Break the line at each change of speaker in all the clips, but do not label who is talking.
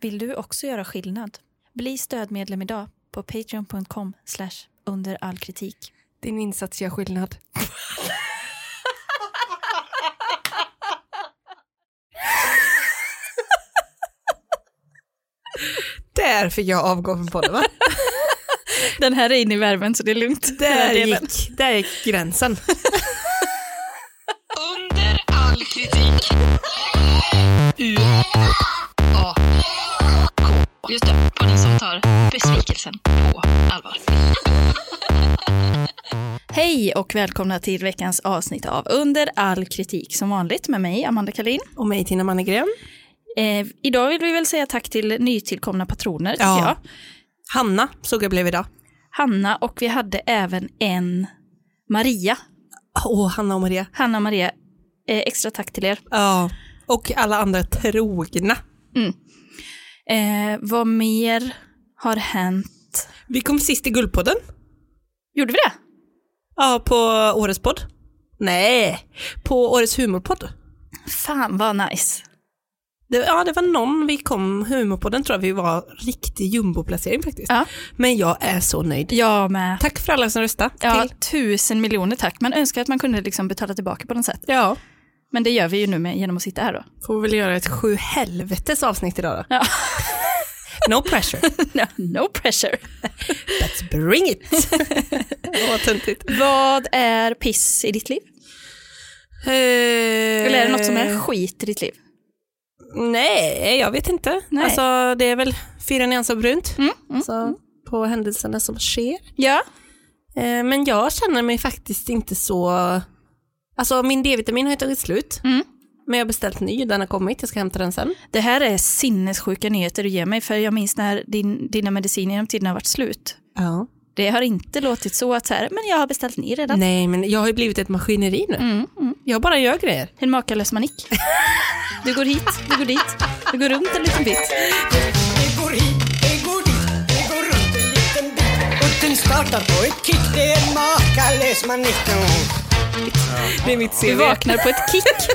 Vill du också göra skillnad? Bli stödmedlem idag på patreon.com under all kritik.
Din insats gör skillnad. Där fick jag avgå från podden, va?
Den här är inne i värmen så det är lugnt. Den här
Där
delen.
gick, där gick gränsen.
Under all kritik. U A K. Just det, podden som tar besvikelsen på allvar.
Hej och välkomna till veckans avsnitt av Under all kritik som vanligt med mig, Amanda Kalin.
Och mig, Tina Mannegren.
Eh, idag vill vi väl säga tack till nytillkomna patroner, tycker
Ja.
jag.
Hanna såg jag blev idag.
Hanna och vi hade även en Maria.
Åh, Hanna och Maria.
Hanna och Maria, eh, extra tack till er.
Ja. Och alla andra trogna.
Eh, vad mer har hänt?
Vi kom sist i Guldpodden.
Gjorde vi det?
Ja, på Årets podd. Nej, på Årets humorpodd.
Fan vad nice.
Det, ja, det var någon vi kom, humorpodden tror jag vi var riktig jumboplacering faktiskt.
Ja.
Men jag är så nöjd.
Jag med.
Tack för alla som röstade.
Ja,
Till.
tusen miljoner tack. Man önskar att man kunde liksom betala tillbaka på något sätt.
ja.
Men det gör vi ju nu med, genom att sitta här då.
Får vi väl göra ett sju helvetes avsnitt idag då.
Ja.
No pressure,
No, no pressure.
let's bring it. Vad töntigt.
Vad är piss i ditt liv?
Eh,
Eller är det något som är skit i ditt liv?
Nej, Mm, jag vet inte.
Nej.
Alltså det är väl fyra nyanser brunt. så på händelserna som sker.
Ja.
Eh, Men jag känner mig faktiskt inte så... Alltså min D-vitamin har ju tagit slut.
Mm.
Men jag har beställt ny, den har kommit, jag ska hämta den sen.
Det här är sinnessjuka nyheter du ger mig, för jag minns när din, dina mediciner genom tiden har varit slut.
Ja.
Det har inte låtit så att så här, men jag har beställt ny redan.
Nej, men jag har ju blivit ett maskineri nu.
Mm, mm.
Jag bara gör grejer.
En makalös manick. Du går hit, du går dit, du går runt en liten bit.
Det går hit, det går dit, det går runt en liten bit. Utten startar på ett kick, det är en makalös manick.
Det är mitt
Du
CV.
vaknar på ett kick.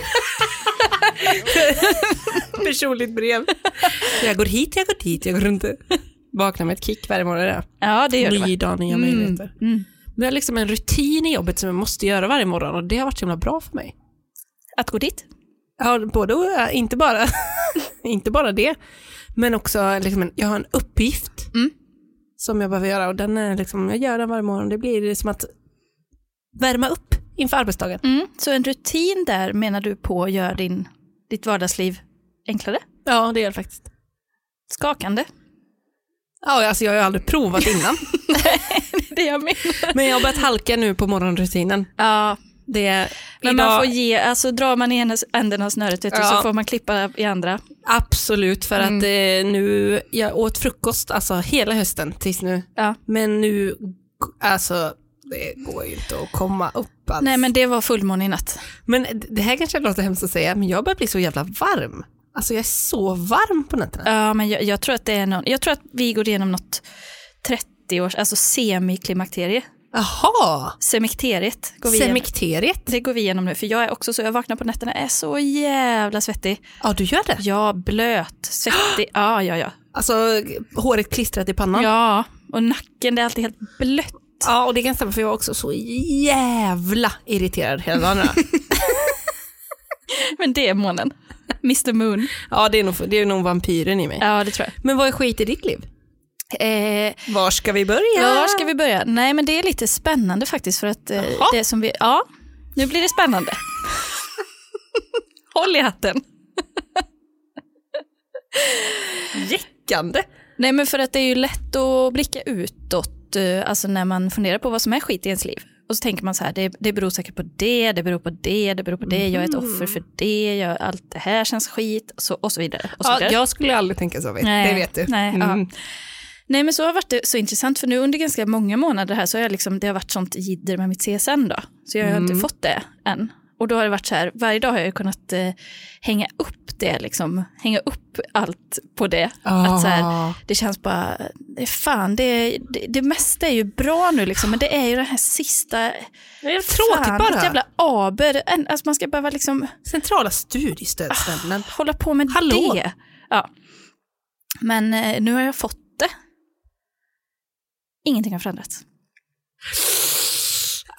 personligt brev. jag går hit, jag går dit, jag går runt. Vaknar med ett kick varje morgon. Där.
Ja, det gör du va? Mm,
Ny dag, nya möjligheter. Vi har liksom en rutin i jobbet som jag måste göra varje morgon och det har varit så himla bra för mig.
Att gå dit?
Ja, både, och, äh, inte, bara, inte bara det, men också liksom en, jag har en uppgift
Mm.
som jag behöver göra och den är liksom, jag gör den varje morgon. Det blir som att värma upp inför arbetsdagen.
Mm. Så en rutin där menar du på gör din, ditt vardagsliv enklare?
Ja, det gör det faktiskt.
Skakande?
Ja, alltså jag har ju aldrig provat innan,
Det jag menar.
men jag har börjat halka nu på morgonrutinen.
Ja,
Det är
men
idag,
man får ge, alltså drar man i ena änden av snöret vet du,
Ja.
så får man klippa i andra.
absolut för att eh, nu, jag åt frukost alltså hela hösten tills nu,
Ja.
men nu, alltså det går ju inte att komma upp alls.
Nej men det var fullmåne i natt.
Men det här kanske låter hemskt att säga, men jag börjar bli så jävla varm. Alltså jag är så varm på nätterna.
Ja men jag, jag tror att det är någon, jag tror att vi går igenom något 30 års, alltså semiklimakterie.
Jaha!
Semikteriet går vi igenom.
Semikteriet.
Det går vi igenom nu, för jag är också så, jag vaknar på nätterna, är så jävla svettig.
Ja, du gör det.
Ja, blöt, svettig, ja ja ja.
Alltså håret klistrat i pannan.
Ja, och nacken, det är alltid helt blött.
Ja, och det kan stämma för jag var också så jävla irriterad hela dagen. idag.
Men det är månen. Mr Moon.
ja, det är, nog, det är nog vampyren i mig.
Ja, det tror jag.
Men vad är skit i ditt liv?
Eh,
Var ska vi börja?
Ja, var ska vi börja? Nej, men det är lite spännande faktiskt för att eh,
Jaha.
det som vi... Ja, nu blir det spännande. Håll i hatten.
Jäckande.
Nej, men för att det är ju lätt att blicka utåt, eh, alltså när man funderar på vad som är skit i ens liv. Och så tänker man så här, det, det beror säkert på det, det beror på det, det beror på det, jag är ett
Mhm.
offer för det, jag, allt det här känns skit och så, och så vidare. Och så
Ja,
vidare.
jag skulle aldrig tänka så, vet.
Nej.
det vet du.
Nej, ja.
Mm.
Nej men så har varit det så intressant för nu under ganska många månader här så har jag liksom, det har varit sånt jidder med mitt CSN då. Så jag har
Mm.
inte fått det än. Och då har det varit så här, varje dag har jag ju kunnat eh, hänga upp det liksom, hänga upp allt på det. Att så här,
Ah.
det känns bara, det är fan, det, det, det mesta är ju bra nu liksom, men det är ju den här sista,
Det är tråkigt
fan,
bara.
ett jävla aber, En- alltså man ska behöva liksom
Centrala studiestödsnämnden.
hålla på med
Hallå?
det. Ja. Men eh, nu har jag fått det. Ingenting har förändrats.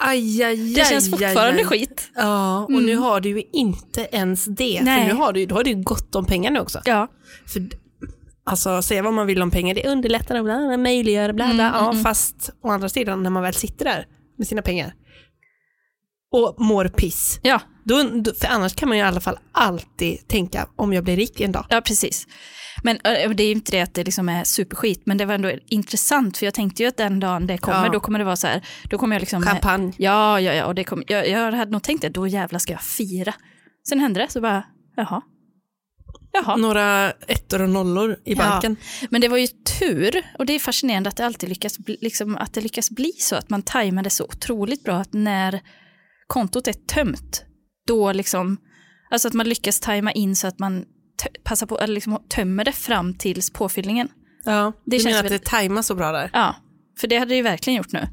Aj, aj,
Det känns fortfarande skit.
Ja, och nu har du ju inte ens det.
Nej.
För nu har du, ju- då har du ju gott om pengar nu också.
Ja.
För, alltså, säga vad man vill om pengar, det underlättar och bla, bla, möjliggör bla, bla. ja, Fast å andra sidan, när man väl sitter där med sina pengar och mår piss,
Ja,
då, då, för annars kan man ju i alla fall alltid tänka om jag blir rik en dag.
ja precis. Men eh, det är ju inte det att det liksom är superskit, men det var ändå intressant för jag tänkte ju att den dagen det kommer,
Ja.
då kommer det vara så här, då kommer jag liksom...
Champagne.
Ja, ja, ja, och det kom, jag, jag hade nog tänkt det, då jävlar ska jag fira. Sen hände det, så bara, jaha. Jaha.
Några ettor och nollor i banken.
Men det var ju tur, och det är fascinerande att det alltid lyckas, bli- liksom, att det lyckas bli så, att man tajmar det så otroligt bra att när kontot är tömt, då liksom, alltså att man lyckas tajma in så att man tö- passar på, eller liksom tömmer det fram tills påfyllningen.
Ja,
Det
det du
känns
menar att
väl-
det tajmas så bra där?
Ja, för det hade det ju verkligen gjort nu.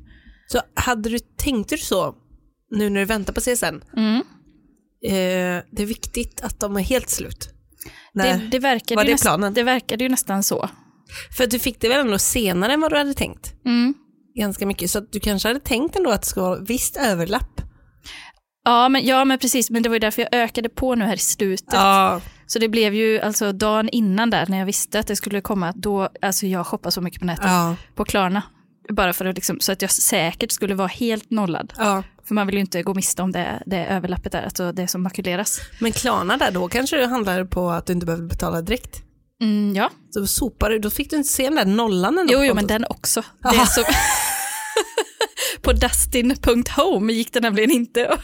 Så hade du, tänkte du så nu när du väntar på CSN?
Mm.
Eh, det är viktigt att de är helt slut.
Det,
När,
det, verkade
Var
ju
det
näst-
planen?
det verkade ju nästan så.
För att du fick det väl ändå senare än vad du hade tänkt?
Mm.
Ganska mycket. Så att du kanske hade tänkt ändå att det ska vara visst överlapp?
Ja men, ja, men precis, men det var ju därför jag ökade på nu här i slutet.
Ja.
Så det blev ju alltså dagen innan där när jag visste att det skulle komma, då, alltså jag shoppade så mycket på nätet,
Ja.
på Klarna. Bara för att liksom, så att jag säkert skulle vara helt nollad.
ja.
För man vill ju inte gå miste om det, det överlappet där, alltså det som makuleras.
Men Klarna där, då kanske du handlade på att du inte behövde betala direkt?
Mm, ja,
Så sopade du, då fick du inte se den där nollan ändå
jo,
på
jo, men
kontot.
den också. Det är som... på dustin.home gick det nämligen inte. Ta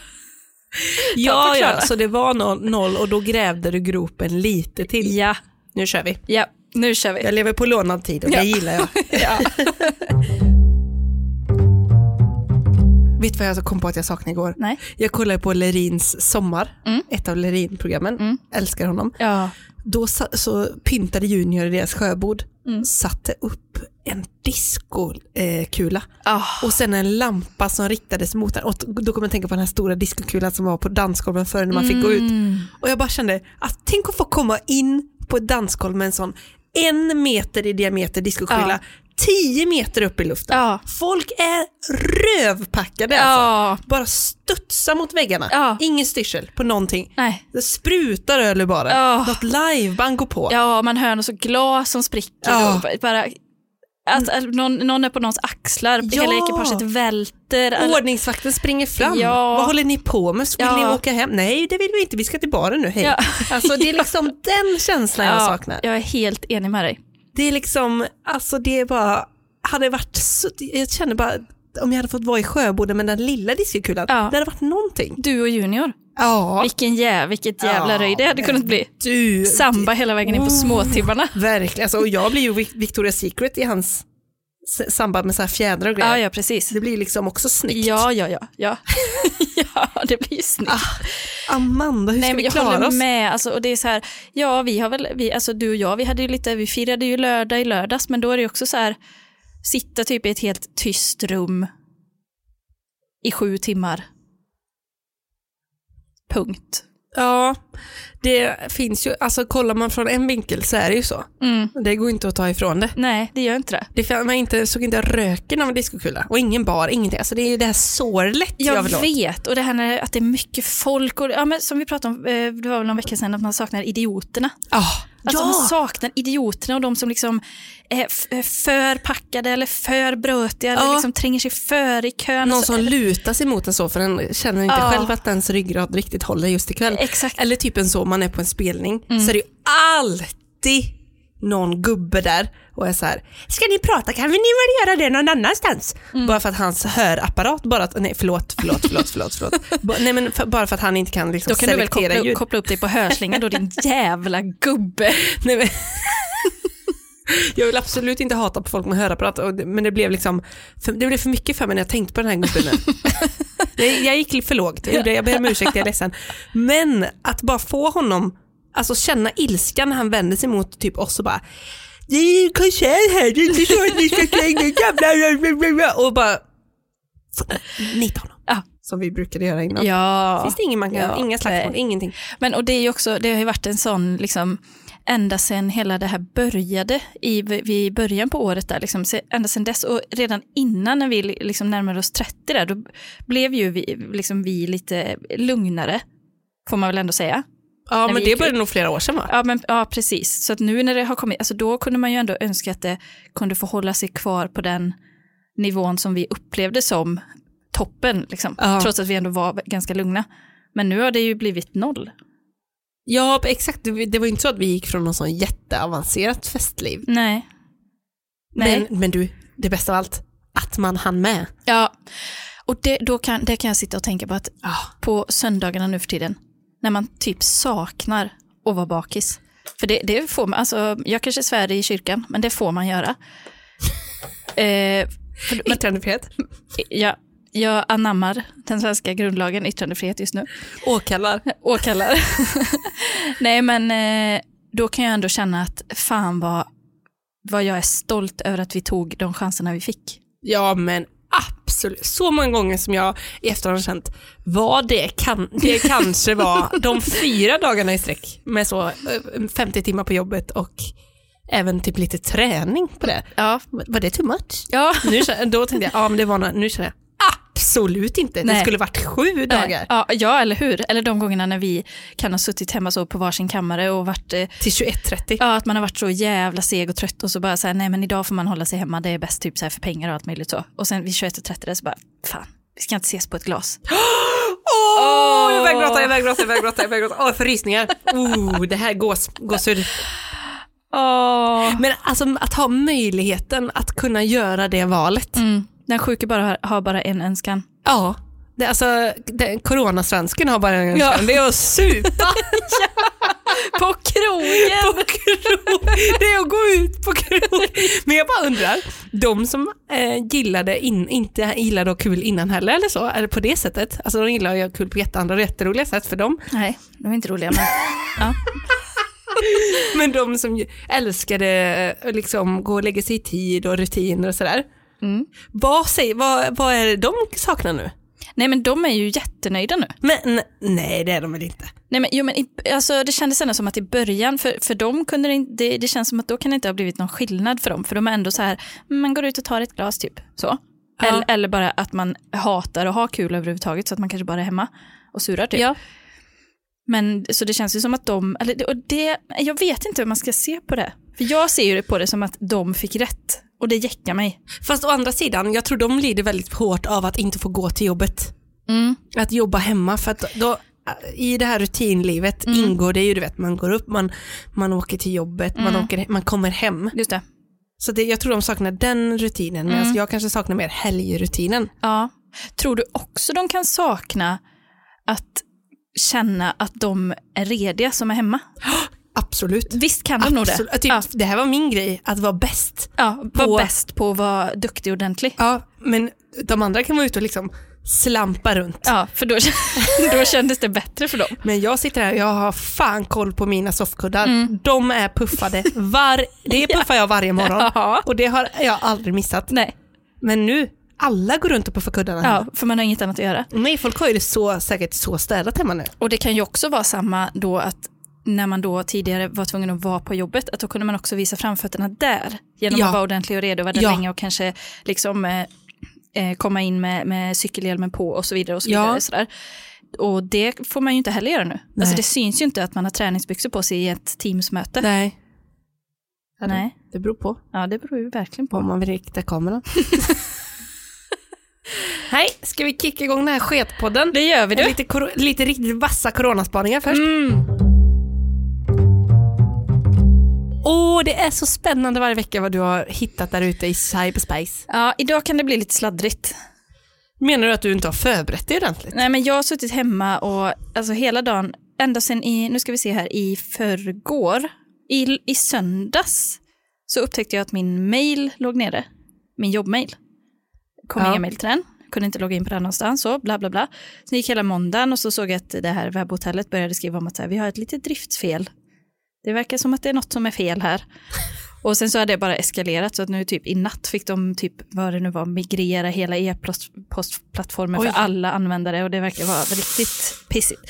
Ja,
på Klarna.
ja, så det var noll, noll och då grävde du gropen lite till.
ja,
Nu kör vi.
ja, nu kör vi.
Jag lever på lånad tid och
Ja.
det gillar jag.
Ja.
Vet du vad jag kom på att jag saknade igår?
Nej. Mm.
Jag kollade på Lerins Sommar, ett av Lerin-programmen. Älskar honom.
Ja.
Då sa, så pyntade Junior i deras sjöbord,
Mm.
satte upp en discokula eh, kula.
Ah.
och sen en lampa som riktades mot den. Och då kommer jag tänka på den här stora discokulan som var på dansgolven förr när man fick gå ut.
Mm.
Och jag bara kände att tänk att få komma in på ett dansgolv med en sån en meter i diameter discokula, tio meter upp i luften.
Ja.
Folk är rövpackade alltså.
Ja.
Bara studsa mot väggarna.
Ja.
Ingen styrsel på någonting.
Nej.
Det sprutar öl ur baren.
Ja.
Något liveband går på.
Ja, man hör något så glas som spricker.
Ja.
Och bara, att, att någon, någon är på någons axlar,
Ja.
hela ekipaget välter. Alltså,
Ordningsvakten springer fram.
Ja.
Vad håller ni på med? Vill
Ja.
ni åka hem? Nej, det vill vi inte. Vi ska till baren nu. Hej.
Ja.
Alltså, det är liksom den känslan jag saknar.
Jag är helt enig med dig.
Det är liksom, alltså det är bara, hade varit så, jag känner bara, om jag hade fått vara i Sjöboden med den lilla diskokulan,
Ja.
det hade varit någonting.
Du och Junior,
Ja.
vilken jä, vilket jävla
Ja,
röj det hade
men
kunnat bli.
Du,
Samba hela vägen in på
Oh.
småtibbarna.
verkligen. Alltså, och jag blir ju Vic- Victoria's Secret i hans s- samband med så här fjädrar och grejer.
Ja, ja, precis.
Det blir liksom också snyggt.
Ja, ja, ja. Ja, ja det blir ju snyggt.
Amanda, hur
Nej,
ska
men
vi
jag
klara
håller
oss?
med. Alltså, och det är så här, ja, vi har väl, vi, alltså, du och jag, vi, hade ju lite, vi firade ju lördag i lördags, men då är det ju också så här, sitta typ i ett helt tyst rum i sju timmar. Punkt.
Ja, det finns ju, alltså kollar man från en vinkel så är det ju så.
Mm.
Det går inte att ta ifrån det.
Nej, det gör inte det.
Det fann- man inte, såg inte röken av en diskokula och ingen bar, ingenting. Alltså det är ju det här sorlet jag,
Jag
vill åt.
vet, och det här när, att det är mycket folk, och, ja, men som vi pratade om, eh, det var väl någon vecka sedan, att man saknar idioterna.
Ah,
Alltså
ja,
man saknar idioterna och de som liksom är f- är för packade eller för brötiga eller
Ja.
liksom tränger sig för i kön.
någon
Alltså,
som lutar sig mot en så för den känner inte
Ja.
själv att ens ryggrad riktigt håller just ikväll.
Exakt. Mm.
Eller typ en så, man är på en spelning så är det ju alltid någon gubbe där och är så här, ska ni prata kan vi ni väl göra det någon annanstans?
Mm.
Bara för att hans hörapparat bara, att, nej förlåt, förlåt, förlåt, förlåt, förlåt. Ba- nej men för, bara för att han inte kan liksom
Då kan du väl
selektera
koppla,
ljud.
koppla upp dig på hörslingan då din jävla gubbe.
Nej, men... Jag vill absolut inte hata på folk med hörapparat, och det- men det blev, liksom, för, det blev för mycket för mig när jag tänkte på den här gubben. nu. jag, jag gick för lågt, jag, gjorde det. jag ber om ursäkt, jag är ledsen. Men att bara få honom, alltså känna ilskan när han vänder sig mot typ oss och bara det är ju en konsert här, det är inte så att ni ska kränga Och bara nita honom.
Ja.
Som vi brukade göra innan.
Ja.
Finns det ingen man kan,
Ja,
inga slagsmål,
nej.
ingenting.
Men och det är ju också, det har ju varit en sån liksom ända sedan hela det här började i, vid början på året där, liksom, se- ända sedan dess och redan innan när vi li- liksom närmade oss 30 där, då blev ju vi, liksom vi lite lugnare, får man väl ändå säga.
Ja,
vi
men det
gick
började nog flera år sedan va?
Ja, men, ja precis. Så att nu när det har kommit, alltså då kunde man ju ändå önska att det kunde få hålla sig kvar på den nivån som vi upplevde som toppen, liksom.
Ja.
trots att vi ändå var ganska lugna. Men nu har det ju blivit noll.
Ja, exakt. Det det var ju inte så att vi gick från någon sån jätteavancerat festliv.
Nej. Nej.
Men, men du, det bästa av allt, att man hann med.
Ja, och det, då kan, det kan jag sitta och tänka på att på söndagarna nu för tiden, när man typ saknar att vara bakis. För det, det får man, alltså jag kanske svär i kyrkan, men det får man göra. Eh, för, men,
Yttrandefrihet.
ja, jag anammar den svenska grundlagen yttrandefrihet just nu.
Åkallar.
Åkallar. Nej, men eh, då kan jag ändå känna att fan vad, vad jag är stolt över att vi tog de chanserna vi fick.
Ja, men absolut. Så många gånger som jag i efterhand har känt vad det, kan, det kanske var de fyra dagarna i sträck med så eh, 50 timmar på jobbet och även typ lite träning på det.
Ja,
Var det too much?
ja.
Nu, kä- då tänkte jag, ja men det var några, nu känner jag absolut inte. Det
Nej.
skulle varit sju dagar.
Eh, Ja, ja, eller hur? Eller de gångerna när vi kan ha suttit hemma så på varsin kammare och varit, eh,
Till 21.30.
ja, att man har varit så jävla seg och trött och så bara så här, nej men idag får man hålla sig hemma, det är bäst typ så här för pengar och allt möjligt så. Och sen vid 21.30 där så bara, fan, vi ska inte ses på ett glas.
Åh, jag väggråtar, jag väggråtar, jag väggråtar, jag väggråtar. Åh, för rysningar. Oh, det här gås, gåshud.
Åh.
Men alltså att ha möjligheten att kunna göra det valet.
Mm. Den sjuke bara har, har bara en önskan.
Ja. Det, alltså, det, coronasvensken har bara en önskan, det är att supa
På krogen!
på krog. Det är att gå ut på krog. Men jag bara undrar, de som eh, gillade in, inte gillade att ha kul innan heller eller så, är det på det sättet? Alltså de gillar att göra kul på jätteandra och jätteroliga sätt för dem.
Nej, de är inte roliga men, ja.
Men de som ju älskade eh, liksom gå och lägga sig i tid och rutiner och sådär.
Mm.
Vad, säger, vad, vad är det de saknar nu?
Nej men de är ju jättenöjda nu.
Men nej, det är de väl inte.
Nej, men, jo, men i, alltså, det kändes ändå som att i början, för, för dem kunde det, in- det, det känns som att då kan det inte ha blivit någon skillnad för dem, för de är ändå så här, "Mm, man går ut och tar ett glas typ. Så.
Ja.
Eller, eller bara att man hatar att ha kul överhuvudtaget, så att man kanske bara är hemma och surar typ. Men så det känns ju som att de, eller, det- och det, jag vet inte hur man ska se på det. För jag ser ju det på det som att de fick rätt, och det jäckar mig.
Fast å andra sidan, jag tror de lider väldigt hårt av att inte få gå till jobbet.
Mm.
Att jobba hemma, för att då, eh, i det här rutinlivet
Mm.
ingår det ju, du vet, man går upp, man, man åker till jobbet,
Mm.
man, åker, man kommer hem.
Just det.
Så det, jag tror de saknar den rutinen, medan
Mm.
jag kanske saknar mer helgrutinen.
Ja. Tror du också de kan sakna att känna att de är rediga som är hemma?
Absolut.
Visst kan de nog det?
Absolut. Typ,
Ja,
Det här var min grej, att vara bäst.
ja,
på-
var bäst på att vara duktig och ordentlig.
Ja, men de andra kan vara ute och liksom slampa runt.
Ja, för då, då kändes det bättre för dem.
Men jag sitter här och jag har fan koll på mina soffkuddar.
Mm.
De är puffade. Var, det puffar jag varje morgon.
Ja.
Och det har jag aldrig missat.
Nej,
Men nu, alla går runt och puffar kuddarna.
ja,
hemma.
för man har inget annat att göra.
Nej, folk har ju det så, säkert så städat hemma nu.
Och det kan ju också vara samma då att när man då tidigare var tvungen att vara på jobbet, att då kunde man också visa framfötterna där genom
Ja.
att vara ordentlig och redo, vara där
Ja.
länge och kanske liksom eh, eh, komma in med, med cykelhjälmen på och så vidare. Och, så
Ja.
vidare sådär. och det får man ju inte heller göra nu. Alltså det syns ju inte att man har träningsbyxor på sig i ett teamsmöte.
Nej.
Nej.
Det beror på
Ja, det beror ju verkligen på.
om man vill rikta kameran. Hej, ska vi kicka igång den här sketpodden?
Det gör vi du.
Lite, kor- lite riktigt vassa coronaspaningar först. Åh, det är så spännande varje vecka vad du har hittat där ute i cyberspace.
Ja, idag kan det bli lite sladdrigt.
Menar du att du inte har förberett dig ordentligt?
Nej, men jag har suttit hemma och alltså hela dagen, ända sen i, nu ska vi se här, i förrgår, i, i söndags, så upptäckte jag att min mail låg nere. Min jobbmail. Kom
Ja.
inga mail till den, kunde inte logga in på den någonstans, så bla bla bla. Sen gick hela måndagen och så såg jag att det här webbhotellet började skriva om att så här, vi har ett litet driftsfel. Det verkar som att det är något som är fel här. Och sen så har det bara eskalerat så att nu typ i natt fick de typ vad det nu var migrera hela e-postplattformen för
Oj.
alla användare och det verkar vara riktigt pissigt.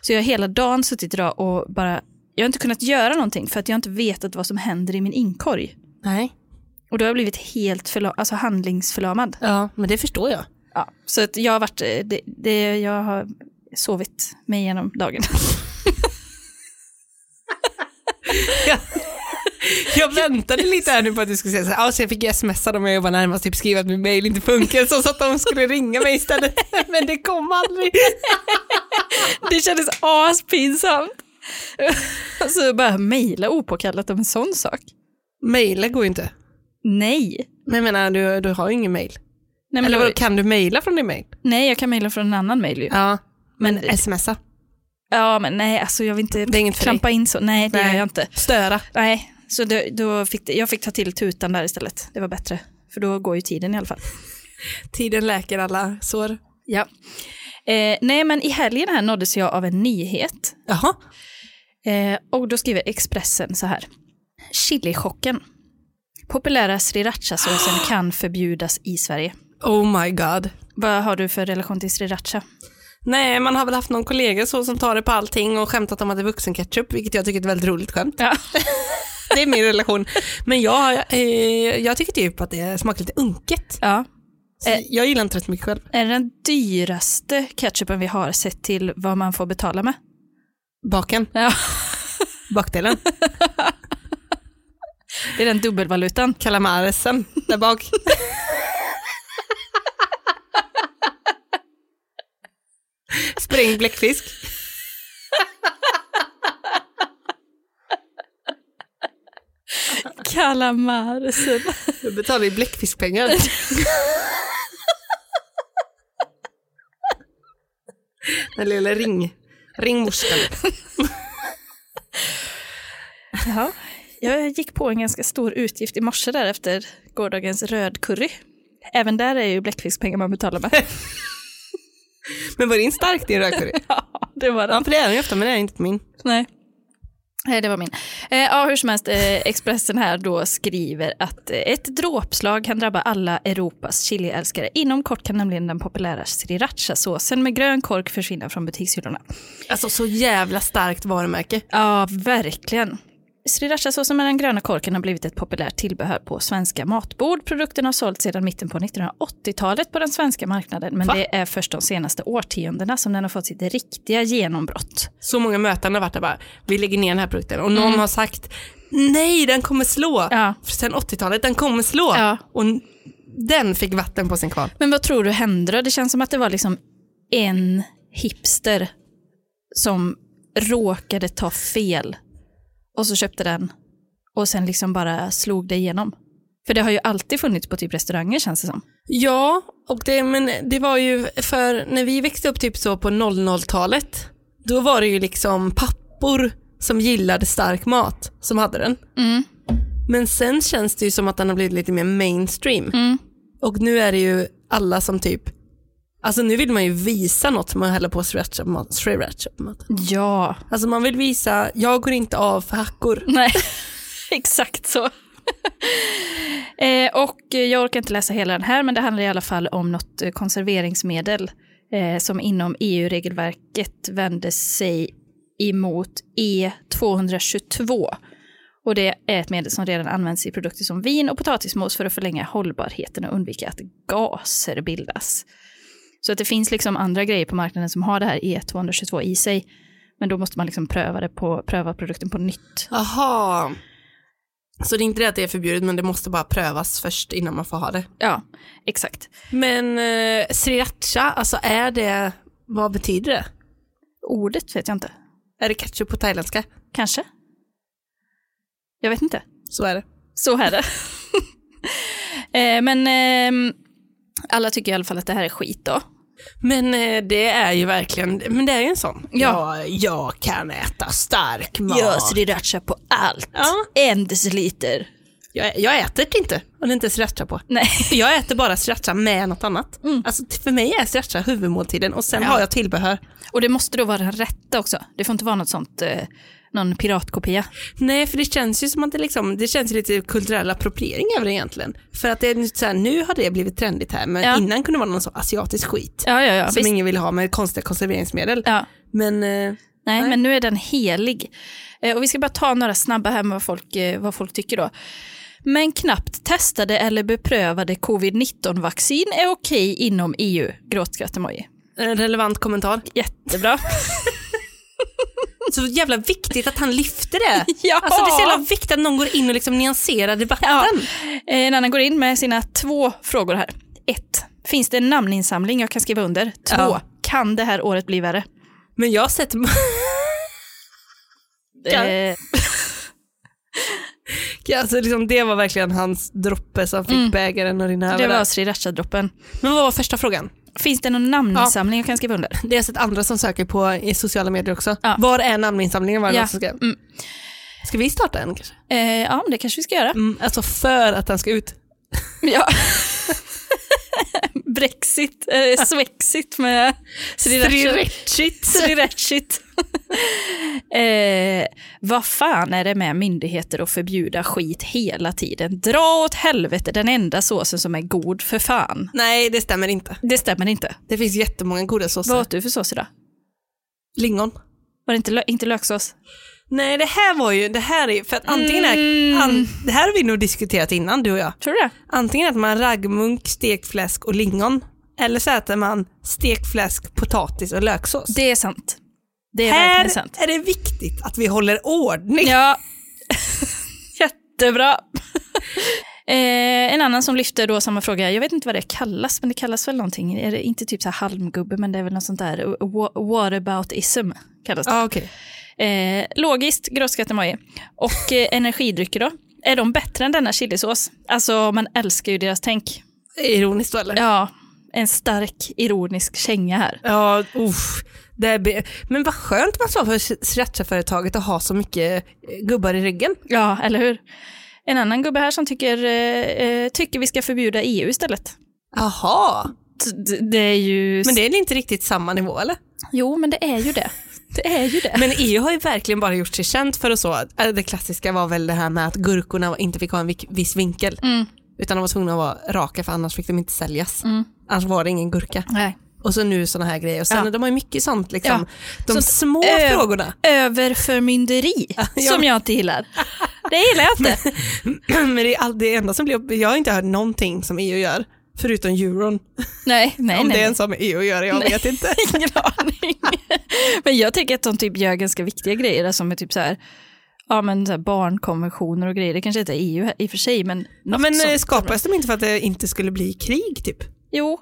Så jag har hela dagen suttit idag och bara jag har inte kunnat göra någonting för att jag inte vetat vad som händer i min inkorg.
Nej.
Och då har jag blivit helt förla- alltså handlingsförlamad.
Ja, men det förstår jag.
Ja. Så att jag har varit, eh, det, det, jag har sovit mig igenom dagen.
Jag väntade lite här nu på att du skulle säga så här, ja, så jag fick ju smsa dem jag jobbade närmast, typ skriva att min mail inte funkar, så så att de skulle ringa mig istället. Men det kom aldrig.
Det kändes aspinsamt. Alltså bara mejla opåkallat om en sån sak.
Maila går ju inte.
Nej.
Men jag menar, du, du har ju ingen mail.
Nej, men
Eller
då-
vadå, kan du maila från din mail?
nej jag kan mejla från en annan mejl ju. Ja.
Ja, men,
Men-
smsa.
men nej, alltså jag vill inte
Det är inget för
klampa in så. Nej, det
Nej.
gör jag inte.
Störa.
Nej, så då, då fick det, jag fick ta till tutan där istället. Det var bättre, för då går ju tiden i alla fall.
Tiden läker alla sår.
Ja. Eh, nej, men i helgen här nåddes jag av en nyhet.
Jaha.
Eh, och då skriver Expressen så här. Chilichocken. Populära srirachasåsen kan förbjudas i Sverige.
Oh my god.
Vad har du för relation till sriracha?
Nej, man har väl haft någon kollega så som tar det på allting och skämtat om att det är vuxenketchup, vilket jag tycker är ett väldigt roligt skämt.
Ja.
Det är min relation. Men jag, eh, jag tycker typ att det smakar lite unket.
ja.
Så Eh, Jag gillar inte rätt mycket själv.
Är det den dyraste ketchupen vi har sett till vad man får betala med?
Baken,
Ja.
bakdelen,
Det är den dubbelvalutan.
kalamaresen där bak. Sprängd bläckfisk.
Kalamarsen.
Jag betalar ju bläckfiskpengar. Den lilla ring, ringmorskan.
Ja. Jag gick på en ganska stor utgift i morse där efter gårdagens rödcurry. Även där är ju bläckfiskpengar man betalar med.
Men var din stark din rökare?
ja, det var
Ja, för det är den ju ofta, men det är inte min.
Nej. Nej, det var min. Eh, ja, hur som helst, eh, Expressen här då skriver att eh, ett dråpslag kan drabba alla Europas chiliälskare. Inom kort kan nämligen den populära srirachasåsen med grön kork försvinna från butikshyllorna.
Alltså så jävla starkt varumärke.
Ja, verkligen. Srirachasåsen med den gröna korken har blivit ett populärt tillbehör på svenska matbord. Produkten har sålts sedan mitten på 1980-talet på den svenska marknaden, men
Va?
det är först de senaste årtiondena som den har fått sitt riktiga genombrott.
Så många möten har varit där bara, vi lägger ner den här produkten och någon har sagt nej den kommer slå.
Mm. Ja.
För Sen 80-talet, den kommer slå.
Ja.
Och n- den fick vatten på sin kvarn.
Men vad tror du hände då? Det känns som att det var liksom en hipster som råkade ta fel och så köpte den och sen liksom bara slog det igenom. För det har ju alltid funnits på typ restauranger känns det som.
Ja, och det, men det var ju för när vi växte upp typ så på 00-talet, då var det ju liksom pappor som gillade stark mat som hade den. Men sen känns det ju som att den har blivit lite mer mainstream. Och nu är det ju alla som typ, alltså nu vill man ju visa något som man häller på sriracha på mat- sriracha på maten.
Ja,
Alltså man vill visa, jag går inte av för hackor.
nej, exakt så. eh, och jag orkar inte läsa hela den här, men det handlar i alla fall om något eh, konserveringsmedel eh, som inom EU-regelverket vände sig emot E222. Och det är ett medel som redan används i produkter som vin och potatismos för att förlänga hållbarheten och undvika att gaser bildas. Så att det finns liksom andra grejer på marknaden som har det här E222 i sig. Men då måste man liksom pröva, det på, pröva produkten på nytt.
Jaha. Så det är inte det att det är förbjudet men det måste bara prövas först innan man får ha det.
Ja, exakt.
Men eh, sriracha, alltså är det, vad betyder det?
Ordet vet jag inte.
Är det ketchup på thailändska?
Kanske? Jag vet inte.
Så är det.
Så här är det. eh, men ehm, alla tycker i alla fall att det här är skit då.
Men eh, det är ju verkligen, men det är ju en sån.
Ja.
jag, jag kan äta stark mat.
sriracha på allt.
Ja.
En deciliter.
jag, jag äter det inte om det inte är sriracha på.
Nej.
Jag äter bara sriracha med något annat.
Mm.
Alltså t- för mig är sriracha huvudmåltiden och sen har jag tillbehör.
Och det måste då vara den rätta också. Det får inte vara något sånt, eh, någon piratkopia.
Nej, för det känns ju som att det, liksom, det känns ju lite kulturell appropriering över det egentligen. För att det är nu så här, nu har det blivit trendigt här, men
Ja.
innan kunde det vara någon så asiatisk skit.
Ja, ja, ja.
som
Visst.
ingen vill ha med konstiga konserveringsmedel.
ja.
Men eh,
Nej, men nu är den helig. Eh, och vi ska bara ta några snabba här med vad folk, eh, vad folk tycker då. Men knappt testade eller beprövade covid-19-vaccin är okej inom E EU. Gråtskratt-emoji.
En relevant kommentar.
Jättebra.
Så jävla viktigt att han lyfter det.
Ja.
Alltså det är så jävla viktigt att någon går in och liksom nyanserar debatten.
Ja. Eh, En annan går in med sina två frågor här. Ett, finns det en namninsamling jag kan skriva under? Två,
Ja.
kan det här året bli värre?
Men jag har sett, Ja.
Eh,
alltså liksom, det var verkligen hans droppe som fick bägaren att rinna
Mm. det
över.
var
där.
sriracha-droppen.
Men vad var första frågan?
Finns det någon namninsamling jag kan skriva under?
Det har jag sett andra som söker på i sociala medier också.
Ja.
Var är namninsamlingen? Var det
Ja.
någon som skrev?
Mm.
Ska vi starta en kanske?
Eh, ja, men det kanske vi ska göra.
Mm, alltså för att den ska ut.
Ja. Brexit, eh, swexit med sriracha. Srirachit. eh, vad fan är det med myndigheter att förbjuda skit hela tiden? Dra åt helvete den enda såsen som är god, för fan.
Nej, det stämmer inte.
Det stämmer inte.
Det finns jättemånga goda såser.
Vad åt du för sås idag?
Lingon.
Var det inte, lö- inte löksås?
Nej, det här var ju, det här är för att antingen är,
Mm.
an, det här har vi nog diskuterat innan du och jag.
Tror du det?
Antingen att man raggmunk, stekt fläsk och lingon. Eller så äter man stekt fläsk, potatis och löksås.
Det är sant. Det är
här
verkligen sant.
är det viktigt att vi håller ordning.
Ja. Jättebra. Eh, en annan som lyfter då samma fråga, jag vet inte vad det kallas, men det kallas väl någonting, är det inte typ så här halmgubbe, men det är väl något sånt där, Wa- whataboutism kallas det.
Ja, okej.
Eh, logiskt, gråskattemoji. Och eh, energidrycker då, är de bättre än denna chilisås? Alltså man älskar ju deras tänk.
Ironiskt då eller?
Ja, en stark ironisk känga här.
Ja, uff. Det är be- men vad skönt man sa för srirachaföretaget att ha så mycket eh, gubbar i ryggen.
Ja, eller hur? En annan gubbe här som tycker, eh, eh, tycker vi ska förbjuda EU istället.
Jaha,
D- Det är ju...
men det är inte riktigt samma nivå eller?
Jo, men det är ju det. Det är ju det.
Men EU har ju verkligen bara gjort sig känt för och så. Eh, Det klassiska var väl det här med att gurkorna inte fick ha en vik- viss vinkel. Utan de var tvungna att vara raka för annars fick de inte säljas. Annars var det ingen gurka.
Nej.
Och så nu sådana här grejer. Och sen,
Ja.
De har ju mycket sånt. Liksom. De
Så-
små
eh,
frågorna.
Överförmynderi, som jag inte gillar. Det gillar jag inte.
Men det, är all, det enda som blir, jag har inte hört någonting som EU gör, förutom euron.
Nej, nej,
Om det
nej.
ens har med EU att göra, E jag vet inte.
Ingen aning. Men jag tänker att de typ gör ganska viktiga grejer, alltså med typ så här, ja, men så här barnkonventioner och grejer. Det kanske inte är EU här- i och för sig, men,
Ja,
något
men eh,
sånt.
skapades de inte för att det inte skulle bli krig typ?
Jo,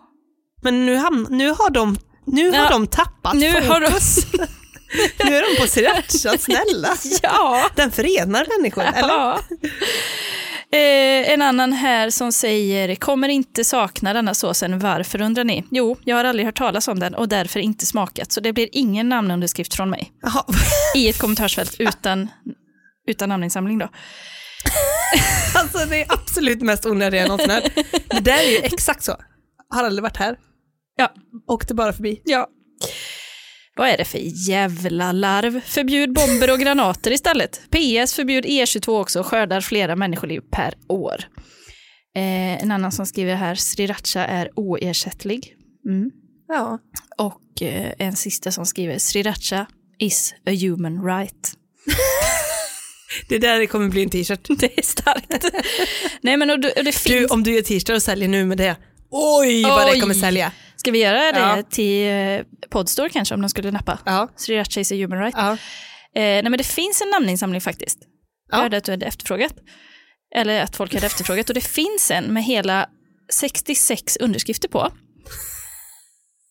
Men nu, hamn, nu har de nu
Ja.
har de tappat
nu
fokus.
har de...
Nu är de på sriracha, snälla.
Ja.
Den förenar människor, eller?
Ja. Eh, en annan här som säger, kommer inte sakna denna såsen, varför undrar ni? Jo, jag har aldrig hört talas om den och därför inte smakat, så det blir ingen namnunderskrift från mig
Jaha.
i ett kommentarsfält utan, utan namninsamling då.
Alltså det är absolut mest onödiga jag någonsin hört. Det där är ju exakt så. Har aldrig varit här,
Ja,
åkte bara förbi.
ja. Vad är det för jävla larv? Förbjud bomber och granater istället. PS, förbjud E22 också, skördar flera människoliv per år. Eh, en annan som skriver här, sriracha är oersättlig. Mm.
Ja.
Och eh, en sista som skriver Sriracha is a human right.
Det där kommer bli en t-shirt.
Det är starkt. Nej men och, du- och det
Du,
finns.
om du gör t-shirtar och säljer nu med det, oj vad
Oj.
det kommer sälja.
Ska vi göra det
Ja.
till eh, Podstore kanske om de skulle nappa?
Ja.
Sriracha is a human right.
Ja.
Eh, nej men det finns en namninsamling faktiskt. Jag
Ja.
hörde att du hade efterfrågat. Eller att folk hade efterfrågat. Och det finns en med hela 66 underskrifter på.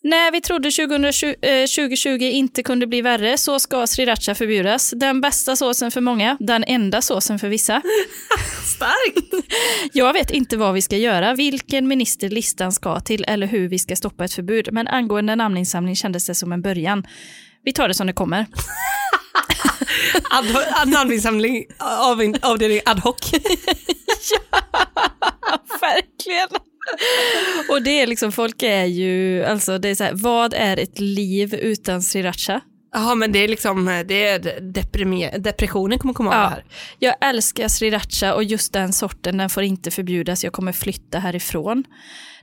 När vi trodde 2020, eh, 2020 inte kunde bli värre så ska sriracha förbjudas. Den bästa såsen för många, den enda såsen för vissa.
Starkt!
Jag vet inte vad vi ska göra, vilken minister listan ska till eller hur vi ska stoppa ett förbud. Men angående namninsamling kändes det som en början. Vi tar det som det kommer.
Ad, ad, namninsamling av, avdelning ad hoc.
Verkligen. Och det är liksom, folk är ju, alltså det är så här, vad är ett liv utan sriracha?
Ja men det är liksom, det är deprimi- depressionen kommer komma av det
Ja.
här.
Jag älskar sriracha och just den sorten, den får inte förbjudas, jag kommer flytta härifrån.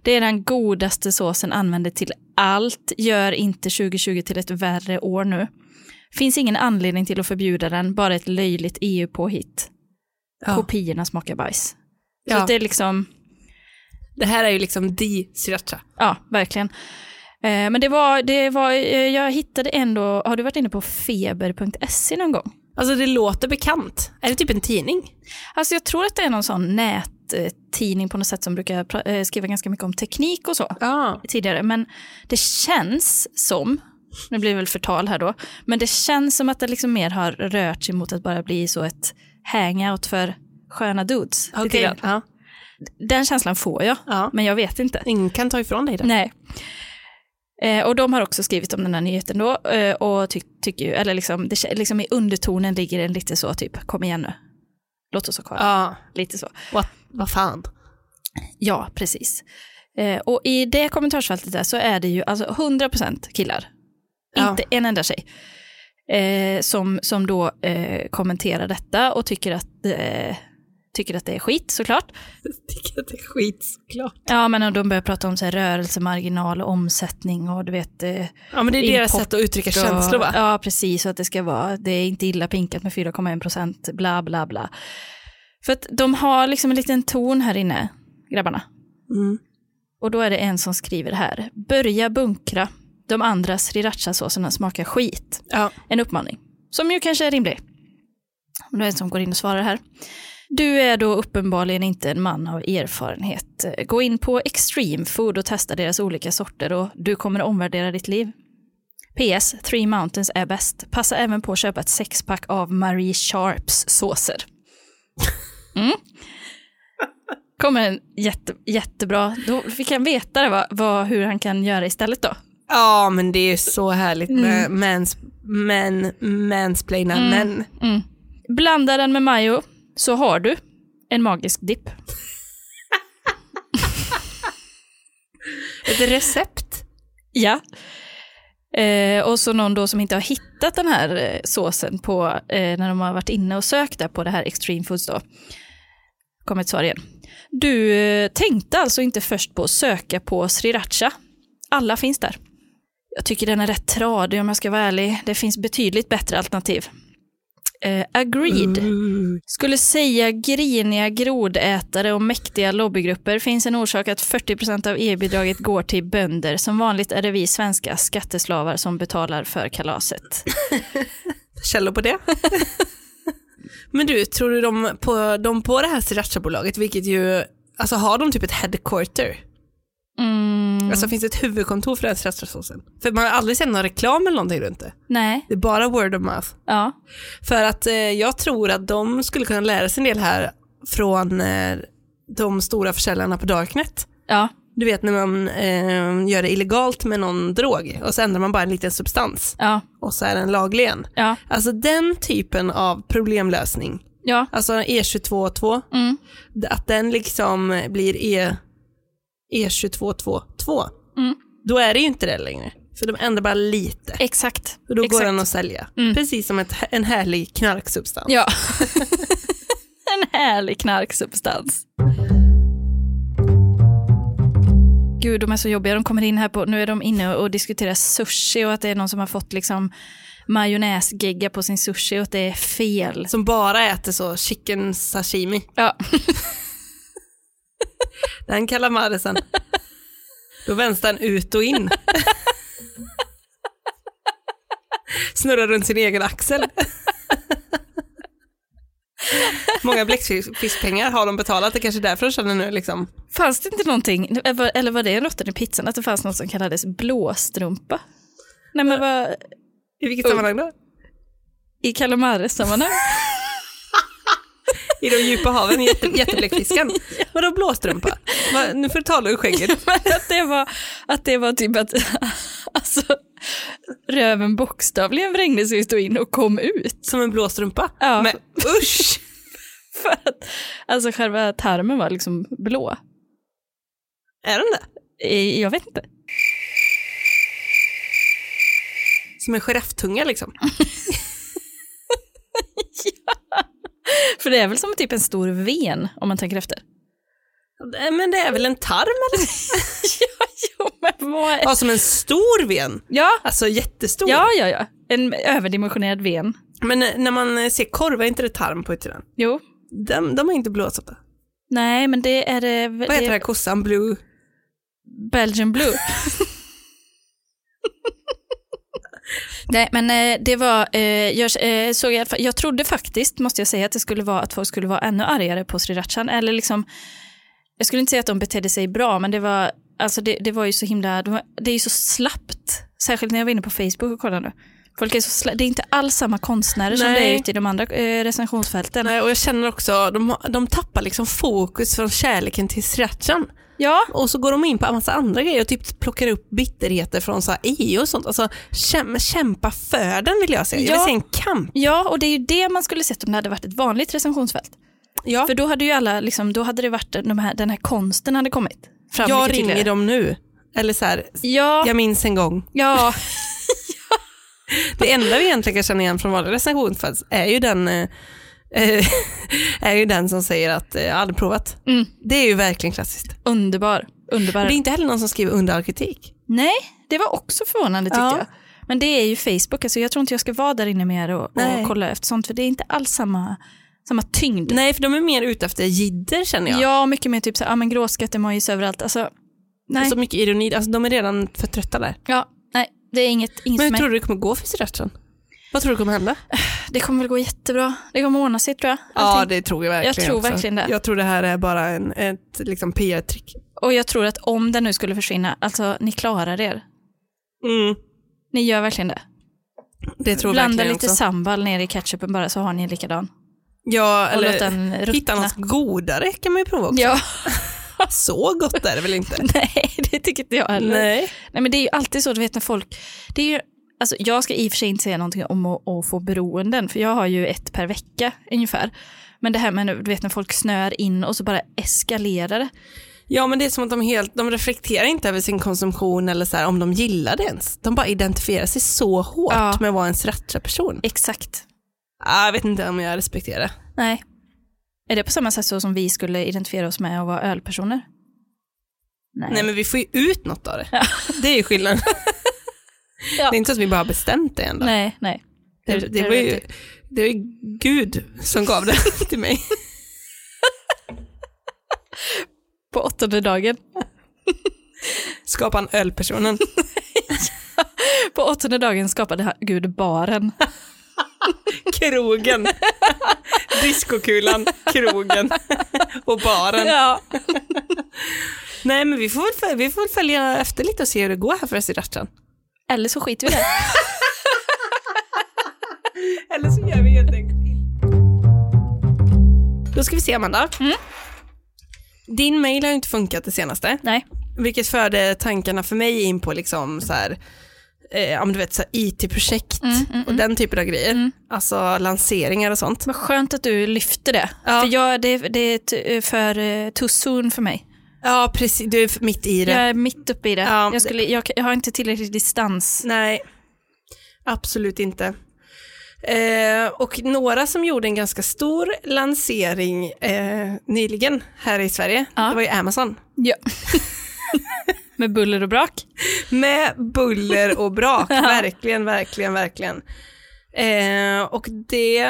Det är den godaste såsen, använder till allt, gör inte 2020 till ett värre år nu. Finns ingen anledning till att förbjuda den, bara ett löjligt E EU-påhitt.
Ja.
Kopiorna smakar bajs. Så
Ja.
att det är liksom,
Det här är ju liksom the sriracha.
ja, verkligen. Eh, men det var, det var, eh, jag hittade ändå, har du varit inne på feber.se E någon gång?
Alltså det låter bekant. Är det typ en tidning?
Alltså jag tror att det är någon sån nättidning på något sätt som brukar pra- eh, skriva ganska mycket om teknik och så.
Ja.
tidigare, men det känns som, nu blir det väl förtal här då, men det känns som att det liksom mer har rört sig mot att bara bli så ett hangout för sköna dudes. lite
Okej.
grann.
Ja.
Den känslan får jag,
Ja.
men jag vet inte.
Ingen kan ta ifrån dig det.
Nej. Eh, och de har också skrivit om den här nyheten då eh, och ty- tycker ju, eller liksom, det, kä- liksom i undertonen ligger den lite så typ, kom igen nu, låt oss ha kvar,
Ja.
lite så.
Vad vad fan.
Ja, precis. Eh, och i det kommentarsfältet där så är det ju alltså 100% killar.
Ja.
Inte en enda tjej. Eh, som, som då eh, kommenterar detta och tycker att, eh, tycker att det är skit såklart.
tycker att det är skit såklart.
Ja, men och de börjar prata om så här, rörelsemarginal och omsättning och du vet... Eh,
Ja men det är deras
Import
sätt att uttrycka
och,
känslor va?
Ja, precis. Och att det ska vara, det är inte illa pinkat med 4,1 procent, bla bla bla. För att de har liksom en liten ton här inne, grabbarna.
Mm.
Och då är det en som skriver här. Börja bunkra. De andra srirachasåserna smakar skit.
Ja.
En uppmaning. Som ju kanske är rimlig. Och det är en som går in och svarar här. Du är då uppenbarligen inte en man av erfarenhet. Gå in på Extreme Food och testa deras olika sorter och du kommer omvärdera ditt liv. PS, Three Mountains är bäst. Passa även på att köpa ett sexpack av Marie Sharps såser. Mm. Kommer en jätte, jättebra, då fick han veta det, vad, vad, hur han kan göra istället då.
Ja men det är så härligt med mans, men, mansplaina män.
Blanda den med majo så har du en magisk dipp.
Ett recept.
Ja. Eh, och så någon då som inte har hittat den här eh, såsen på, eh, när de har varit inne och sökt där på det här Extreme Foods då. Kommer ett svar igen. Du eh, tänkte alltså inte först på att söka på sriracha. Alla finns där. Jag tycker den är rätt tradig om jag ska vara ärlig. Det finns betydligt bättre alternativ. Eh, agreed.
Mm.
Skulle säga griniga grodätare och mäktiga lobbygrupper finns en orsak att 40 av EU-bidraget går till bönder. Som vanligt är det vi svenska skatteslavar som betalar för kalaset.
källor på det. Men du, tror du de på, de på det här srirachabolaget, vilket ju, alltså har de typ ett headquarter?
Mm,
Alltså finns det ett huvudkontor för den här srirachasåsen? För man har aldrig sett någon reklam eller någonting runt det.
nej,
Det är bara word of mouth.
ja.
För att eh, jag tror att de skulle kunna lära sig en del här från eh, de stora försäljarna på Darknet.
ja.
Du vet när man eh, gör det illegalt med någon drog och så ändrar man bara en liten substans
Ja,
och så är den laglig igen.
ja,
Alltså den typen av problemlösning
ja,
alltså E222,
Mm.
att den liksom blir E, E22222,
Mm.
då är det ju inte det längre. För de ändrar bara lite.
exakt.
Och då
exakt.
går den att sälja.
Mm.
Precis som ett, en härlig knarksubstans.
Ja. en härlig knarksubstans. Gud, de är så jobbiga. De kommer in här på, nu är de inne och diskuterar sushi och att det är någon som har fått liksom majonnäsgegga på sin sushi och att det är fel.
Som bara äter så chicken sashimi.
Ja,
Den kalamarisen. då vänds den ut och in. Snurrar runt sin egen axel. Många bläckfiskpengar har de betalat, det är kanske är därför de känner nu liksom.
fanns det inte någonting, eller var det råttan i pizzan, att det fanns något som kallades blåstrumpa? Nej men vad,
I vilket
Ugg.
sammanhang då?
i kalamares-sammanhang?
I de djupa haven, jätte, jättebläckfisken. Vadå blåstrumpa? Va, nu får du tala ur skägget.
Men att det var, att det var typ att alltså, röven bokstavligen vrängdes ut och in och kom ut.
Som en blåstrumpa?
Ja.
Men usch!
För att alltså, själva tarmen var liksom blå.
Är den det?
Eh, Jag vet inte.
Som en girafftunga liksom.
För det är väl som typ en stor ven om man tänker efter.
Men det är väl en tarm eller?
ja, jo, men Vad-
Ja, som en stor ven.
Ja,
Alltså jättestor.
ja, ja, ja. En överdimensionerad ven.
Men eh, när man eh, ser korv, är inte det tarm på utsidan?
Jo.
De, de är inte blåsåta.
Nej, men det är... eh,
Vad heter
det
den här kossan? Blue?
Belgian Blue. Nej, men eh, det var, eh, jag, eh, såg i alla fall, jag trodde faktiskt, måste jag säga, att det skulle vara att folk skulle vara ännu argare på srirachan. Eller liksom, jag skulle inte säga att de betedde sig bra, men det var, alltså det, det var ju så himla, det, var, det är ju så slappt. Särskilt när jag var inne på Facebook och kollade nu. Folk är så sla- det är inte alls samma konstnärer som
Nej.
det är ute i de andra eh, recensionsfälten.
Nej, och jag känner också, de, har- de tappar liksom fokus från kärleken till srirachan.
Ja,
Och så går de in på en massa andra grejer och typ plockar upp bitterheter från så här EU och sånt. Alltså käm, kämpa för den vill jag säga. Jag
Ja.
vill se en kamp.
ja, och det är ju det man skulle sett om det hade varit ett vanligt recensionsfält.
Ja,
För då hade ju alla, liksom, då hade det varit de här, den här konsten hade kommit fram
jag
mycket
ringer
tydligare.
dem nu. Eller så här,
Ja,
jag minns en gång.
ja,
Det enda vi egentligen kan känna igen från vanliga recensionsfall är ju den eh, eh, är ju den som säger att eh, jag har aldrig provat.
Mm.
Det är ju verkligen klassiskt.
underbar. underbar.
Det är inte heller någon som skriver under all kritik.
Nej, det var också förvånande tycker
Ja.
jag. Men det är ju Facebook, alltså jag tror inte jag ska vara där inne mer och,
Nej.
och kolla efter sånt, för det är inte alls samma, samma tyngd.
Nej, för de är mer ute efter jidder känner jag.
Ja. mycket mer typ så här, ah, men gråskatt-emojis överallt. Alltså, nej.
Så mycket ironi, alltså, de är redan för trötta där.
ja, nej, det är inget, inget
Men
för
hur
mig.
tror du det kommer gå för srirachan? Vad tror du kommer hända?
Det kommer väl gå jättebra. Det kommer ordna sig tror jag.
Ja,
Allting.
det tror jag verkligen
Jag tror
också.
verkligen det.
Jag tror det här är bara en, ett liksom PR-trick.
Och jag tror att om den nu skulle försvinna, alltså ni klarar er.
Mm,
Ni gör verkligen det.
det tror jag
Blanda
verkligen
lite
också.
sambal ner i ketchupen bara så har ni en likadan.
Ja,
Och låt
eller
den
hitta
ruttna.
något godare kan man ju prova också.
Ja,
Så gott är det väl inte?
nej det tycker inte jag heller. Nej.
Nej.
men det är ju alltid så, du vet när folk, det är ju, alltså jag ska i och för sig inte säga någonting om att, att få beroenden, för jag har ju ett per vecka ungefär. Men det här med du vet när folk snör in och så bara eskalerar det.
Ja, men det är som att de, helt, de reflekterar inte över sin konsumtion eller så här, om de gillar det ens. De bara identifierar sig så hårt
Ja.
med att vara en srircha-person.
Exakt.
Ah, jag vet inte om jag respekterar det.
Nej. Är det på samma sätt så som vi skulle identifiera oss med att vara ölpersoner? Nej.
Nej, men vi får ju ut något av det. Det är ju skillnaden.
Ja.
Det är inte så att vi bara har bestämt det ändå.
nej, nej.
Det, det, var ju, det var ju Gud som gav det till mig.
på åttonde dagen.
Skapa en ölpersonen.
På åttonde dagen skapade han- Gud baren.
Krogen. Diskokulan, krogen och baren.
Ja.
Nej men vi får, väl, följa- vi får väl följa efter lite och se hur det går här för srirachan.
Eller så skiter vi i det.
Eller så gör vi helt enkelt inte. Då ska vi se Amanda. Din mail har ju inte funkat det senaste.
Nej.
Vilket förde tankarna för mig in på liksom så här, eh, om du vet så här IT-projekt och den typen av grejer. Alltså lanseringar och sånt.
Vad skönt att du lyfter det.
Ja.
För jag, det, det är t- för eh, too soon för mig.
Ja precis, du är mitt i det.
Jag är mitt uppe i det.
Ja.
Jag, skulle, jag, jag har inte tillräcklig distans.
Nej, absolut inte. Eh, och några som gjorde en ganska stor lansering eh, nyligen här i Sverige,
Ja.
det var ju Amazon.
Ja. Med buller och brak.
Med buller och brak, verkligen, verkligen, verkligen. Eh, och det,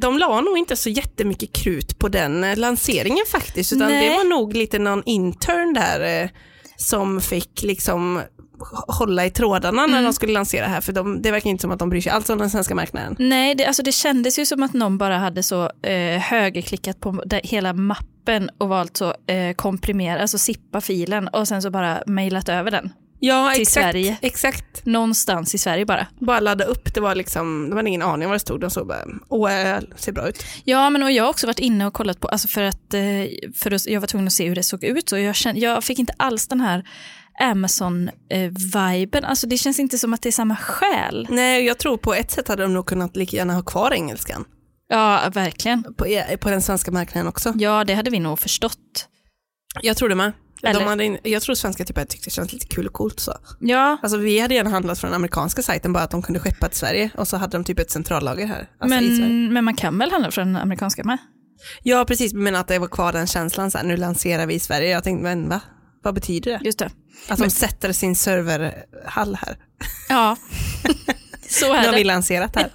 de la nog inte så jättemycket krut på den eh, lanseringen faktiskt, utan
Nej.
det var nog lite någon intern där eh, som fick liksom h- hålla i trådarna när de skulle lansera här, för de, det verkar inte som att de bryr sig alls om den svenska marknaden.
Nej, det, alltså det kändes ju som att någon bara hade så eh, högerklickat på där, hela mappen och valt så eh, komprimera, alltså sippa filen och sen så bara mejlat över den.
Ja,
Till
exakt,
Sverige.
Exakt.
Någonstans i Sverige bara.
Bara ladda upp, det var liksom, de hade ingen aning om vad det stod, de såg bara, åh, eh, ser bra ut.
Ja, men och jag har också varit inne och kollat på, alltså för att, eh, för att jag var tvungen att se hur det såg ut och jag, kände, jag fick inte alls den här Amazon-viben. Alltså det känns inte som att det är samma själ.
Nej, jag tror på ett sätt hade de nog kunnat lika gärna ha kvar engelskan.
Ja, verkligen.
på, eh, på den svenska marknaden också.
Ja, det hade vi nog förstått.
Jag tror det med. De
Eller-
hade in, jag tror svenska typ hade tyckt det känns lite kul och coolt så.
Ja,
Alltså vi hade gärna handlat från den amerikanska sajten bara att de kunde skeppa till Sverige och så hade de typ ett centrallager här. Alltså i Sverige.
men, men man kan väl handla från den amerikanska med?
Ja precis, men att det var kvar den känslan så här, nu lanserar vi i Sverige. Jag tänkte, men va? Vad betyder det?
Just det.
Att de sätter sin serverhall här.
Ja, så
Nu
är
har vi
det.
lanserat här.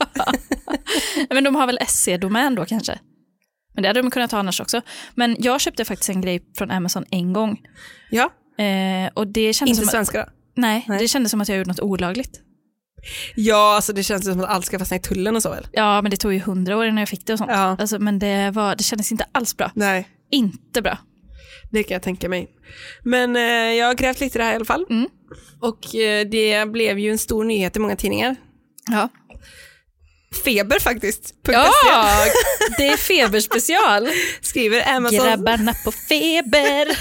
Men de har väl SC-domän då kanske? Men det hade de kunnat ha annars också. Men jag köpte faktiskt en grej från Amazon en gång.
Ja,
Eh, och det kändes,
inte
som att,
svenska då.
nej,
Nej.
det kändes som att jag gjorde något olagligt.
Ja, alltså det känns som att allt ska fastna i tullen och så väl?
Ja, men det tog ju hundra år innan jag fick det och sånt.
Ja.
Alltså, men det, var, det kändes inte alls bra.
Nej,
Inte bra.
det kan jag tänka mig. Men eh, jag har grävt lite i det här i alla fall.
Mm.
Och eh, det blev ju en stor nyhet i många tidningar.
Ja.
Feber faktiskt.
Ja, det är feberspecial.
Skriver Amazon.
Grabbarna på feber.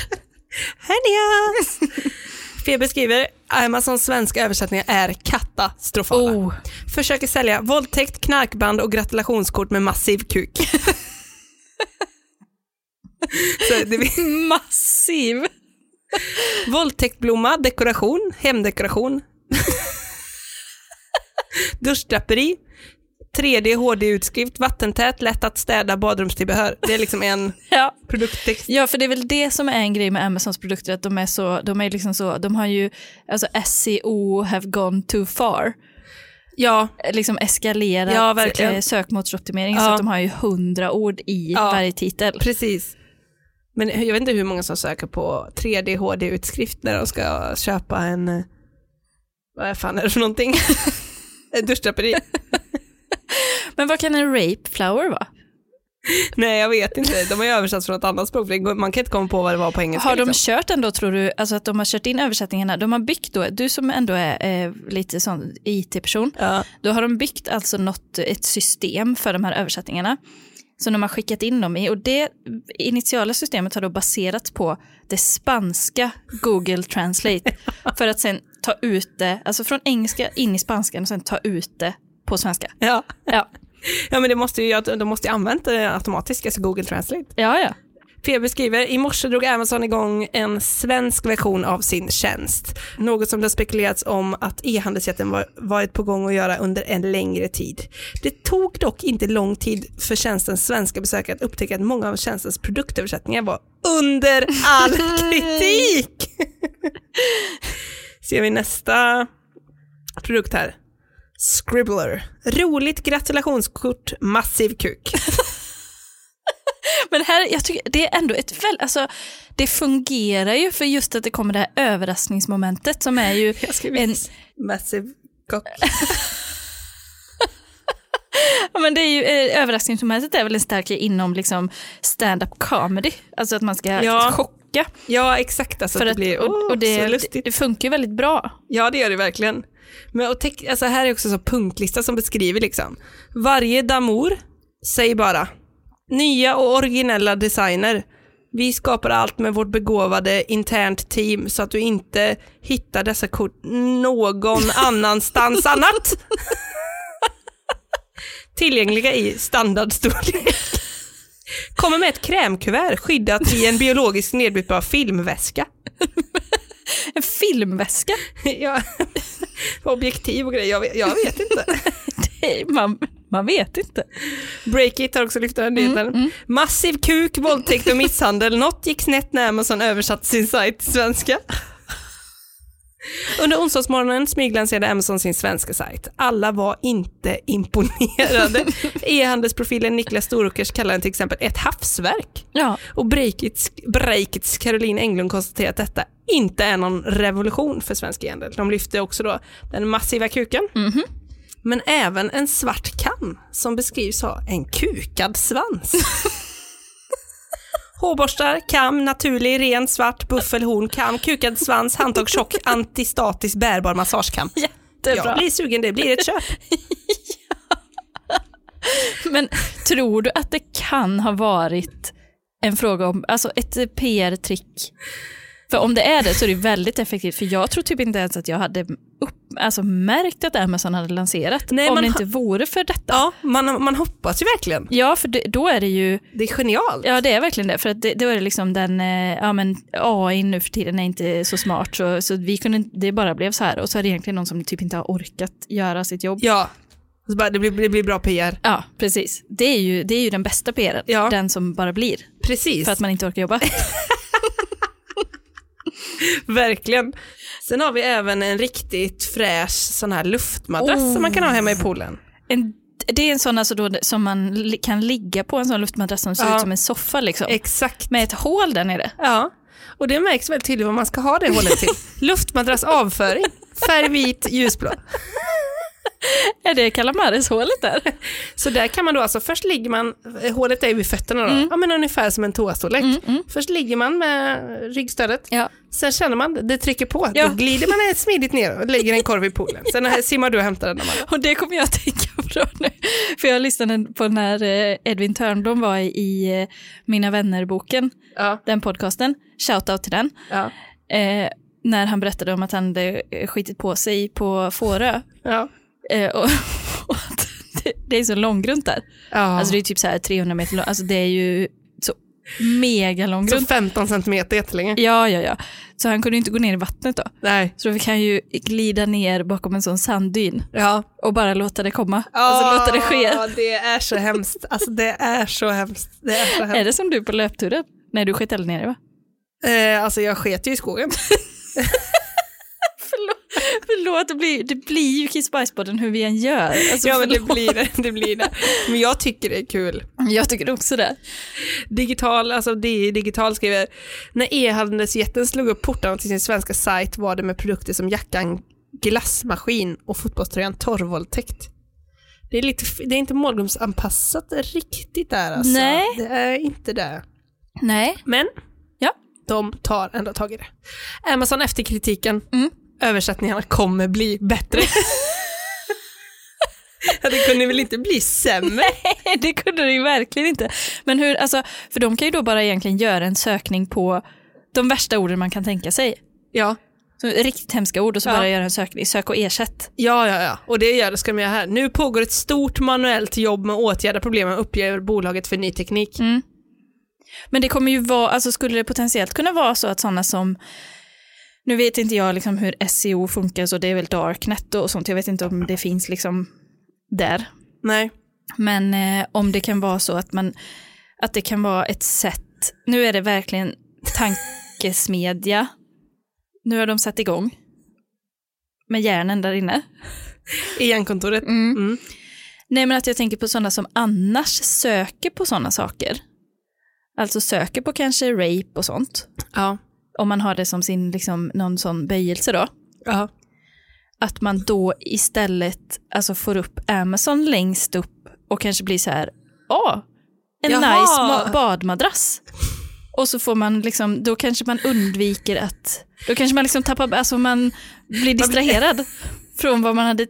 Hernias! Feber skriver Amazons svenska översättningar är katastrofala.
Oh.
Försöker sälja våldtäkt, knarkband och gratulationskort med massiv kuk. Så det,
Massiv.
Våldtäktblomma, dekoration, hemdekoration. Duschdraperi. 3D HD-utskrift, vattentät, lätt att städa, badrumstillbehör. Det är liksom en
Ja.
produkttext.
Ja, för det är väl det som är en grej med Amazons produkter, att de är så, de är liksom så, de har ju, alltså SEO have gone too far,
Ja,
liksom eskalerat
Ja, verkligen.
eh, sökmotorsoptimering,
Ja.
så att de har ju hundra ord i
Ja.
varje titel.
precis. Men jag vet inte hur många som söker på 3D HD-utskrift när de ska köpa en... eh, Vad fan är det för någonting? Ett Duschdraperi?
Men vad kan en rape flower vara?
Nej, jag vet inte. De har ju översatts från ett annat språk. Det går- Man kan inte komma på vad det var på engelska.
Har de
liksom.
kört ändå tror du, alltså att de har kört in översättningarna, de har byggt då, du som ändå är eh, lite sån IT-person,
Ja.
då har de byggt alltså något, ett system för de här översättningarna som de har skickat in dem i och det initiala systemet har då baserats på det spanska Google Translate för att sen ta ut det, alltså från engelska in i spanskan och sen ta ut det på svenska.
Ja.
Ja,
Ja men det måste ju, de måste ju använda det automatiskt, alltså Google Translate.
ja, ja.
Feber skriver, i morse drog Amazon igång en svensk version av sin tjänst. Något som det har spekulerats om att e-handelsjätten var, varit på gång att göra under en längre tid. Det tog dock inte lång tid för tjänstens svenska besökare att upptäcka att många av tjänstens produktöversättningar var under all kritik. Ser vi nästa produkt här. Scribbler. Roligt gratulationskort, massiv kuk.
Men här, jag tycker det är ändå ett väl, alltså det fungerar ju för just att det kommer det här överraskningsmomentet som är ju
Jag skriver
en,
massiv kock.
Ja, men det är ju, eh, överraskningsmomentet är väl en starkare inom liksom, stand-up comedy, alltså att man ska
Ja.
chocka.
Ja, exakt. Alltså,
För
att det
att,
blir
och, och det,
så lustigt.
det funkar ju väldigt bra.
ja, det gör det verkligen. Men, och teck, alltså, här är också så punktlista som beskriver liksom. Varje damour, säg bara. Nya och originella designer. Vi skapar allt med vårt begåvade internt team så att du inte hittar dessa kort någon annanstans annat. Tillgängliga i standardstorlek. Kommer med ett krämkuvert skyddat i en biologiskt nedbrytbar filmväska.
En filmväska,
ja, objektiv och grejer, jag vet, jag vet inte.
det är- man, man vet inte.
Breakit har också lyft den här nyheten. Massiv kuk, våldtäkt och misshandel. Något gick snett när Amazon översatte sin sajt till svenska. Under onsdagsmorgonen smyglanserade Amazon sin svenska sajt. Alla var inte imponerade. E-handelsprofilen Niklas Storåkers kallar den till exempel ett havsverk.
Ja.
Och Breakits, Breakits Caroline Englund konstaterar att detta inte är någon revolution för svensk e-handel. De lyfter också då den massiva kuken.
Mhm.
Men även en svart kam som beskrivs ha en kukad svans. Hårborstar, kam, naturlig, ren, svart, buffelhorn, kam, kukad svans, handtag, tjock, antistatisk, bärbar massagekam.
Jättebra.
Jag blir sugen, det blir ett köp.
Men tror du att det kan ha varit en fråga om, alltså ett eh, PR-trick? För om det är det så är det väldigt effektivt, för jag tror typ inte ens att jag hade upp, alltså märkt att Amazon hade lanserat,
Nej,
om
man
det
har-
inte vore för detta.
Ja, man, man hoppas ju verkligen.
Ja, för det, då är det ju
Det är genialt.
Ja, det är verkligen det. För att det, då är det liksom den, eh, ja men AI nu för tiden är inte så smart så, så vi kunde, inte- det bara blev så här och så är det egentligen någon som typ inte har orkat göra sitt jobb. Ja,
Ja, så bara, det, blir, det blir bra PR.
precis. Det är, ju, det är ju den bästa PRn,
Ja.
den som bara blir
Precis.
för att man inte orkar jobba.
Verkligen. Sen har vi även en riktigt fräsch sån här luftmadrass som man kan ha
Oh.
hemma i poolen.
En, det är en sån alltså då, som man li- kan ligga på, en sån luftmadrass som ser
Ja.
ut som en soffa liksom.
Exakt.
Med ett hål där nere.
Ja, och det märks väldigt tydligt vad man ska ha det hålet till. Luftmadrass avföring, färg vit, ljusblå.
Är det Calamares-hålet där?
Så där kan man då, alltså först ligger man, hålet är ju vid fötterna då,
Mm.
ja men ungefär som en toastorlek. Först ligger man med ryggstödet,
Ja.
sen känner man, det trycker på,
Ja.
då glider man smidigt ner och lägger en korv i poolen. Sen här simmar du och hämtar den. Amanda.
Och det kommer jag att tänka på nu. För jag lyssnade på när eh, Edvin Törnblom var i eh, Mina vänner-boken,
Ja,
den podcasten. Shoutout till den.
ja,
Eh, när han berättade om att han hade eh, skitit på sig på Fårö.
ja.
Eh, och, och att det, det är så långgrunt där.
ja.
Alltså det är typ så här 300 meter långt. Alltså det är ju så mega
så
långgrunt.
15 centimeter jättelänge.
Ja, ja, ja. Så han kunde ju inte gå ner i vattnet då.
Nej.
Så vi kan ju glida ner bakom en sån sanddyn
Ja.
och bara låta det komma. Alltså låta det ske.
Ja, det är så hemskt. Alltså det är så hemskt. Det är så hemskt.
Är det som du på löpturen? Nej, du sket aldrig ner det va?
Eh, alltså jag sket ju i skogen.
Förlåt, förlåt det, blir, det blir ju kissbajspodden hur vi än gör. Alltså,
ja men det
förlåt.
blir det, det blir det. Men jag tycker det är kul.
Jag tycker också det.
Digital, alltså DI Digital skriver, när e-handelsjätten slog upp portarna till sin svenska sajt var det med produkter som jackan glassmaskin och fotbollströjan torrvåldtäkt. Det är, lite, f- det är inte målgruppsanpassat riktigt där alltså.
Nej.
Det är inte det.
Nej.
Men
Ja.
de tar ändå tag i det. Amazon efter kritiken.
Mm.
Översättningarna kommer bli bättre. ja, det kunde väl inte bli sämre?
Det kunde du ju verkligen inte. Men hur, alltså, för de kan ju då bara egentligen göra en sökning på de värsta orden man kan tänka sig.
Ja.
Så, riktigt hemska ord och så
Ja.
bara göra en sökning, sök och ersätt.
ja, ja, ja. Och det gör det ska de göra här. Nu pågår ett stort manuellt jobb med att åtgärda problemen uppger bolaget för ny teknik.
Men det kommer ju vara, alltså skulle det potentiellt kunna vara så att sådana som, nu vet inte jag liksom hur SEO funkar så det är väl darknet och sånt, jag vet inte om det finns liksom där.
Nej.
Men eh, om det kan vara så att man, att det kan vara ett sätt, nu är det verkligen tankesmedja, nu har de satt igång med hjärnan där inne.
I hjärnkontoret. Mm.
Nej men att jag tänker på sådana som annars söker på sådana saker. Alltså söker på kanske rape och sånt.
Ja.
om man har det som sin, liksom, någon sån böjelse då,
Ja.
att man då istället alltså, får upp Amazon längst upp och kanske blir så här, åh, en
Jaha.
nice ma- badmadrass. Och så får man liksom, då kanske man undviker att, då kanske man liksom tappar, alltså man blir distraherad från vad man hade,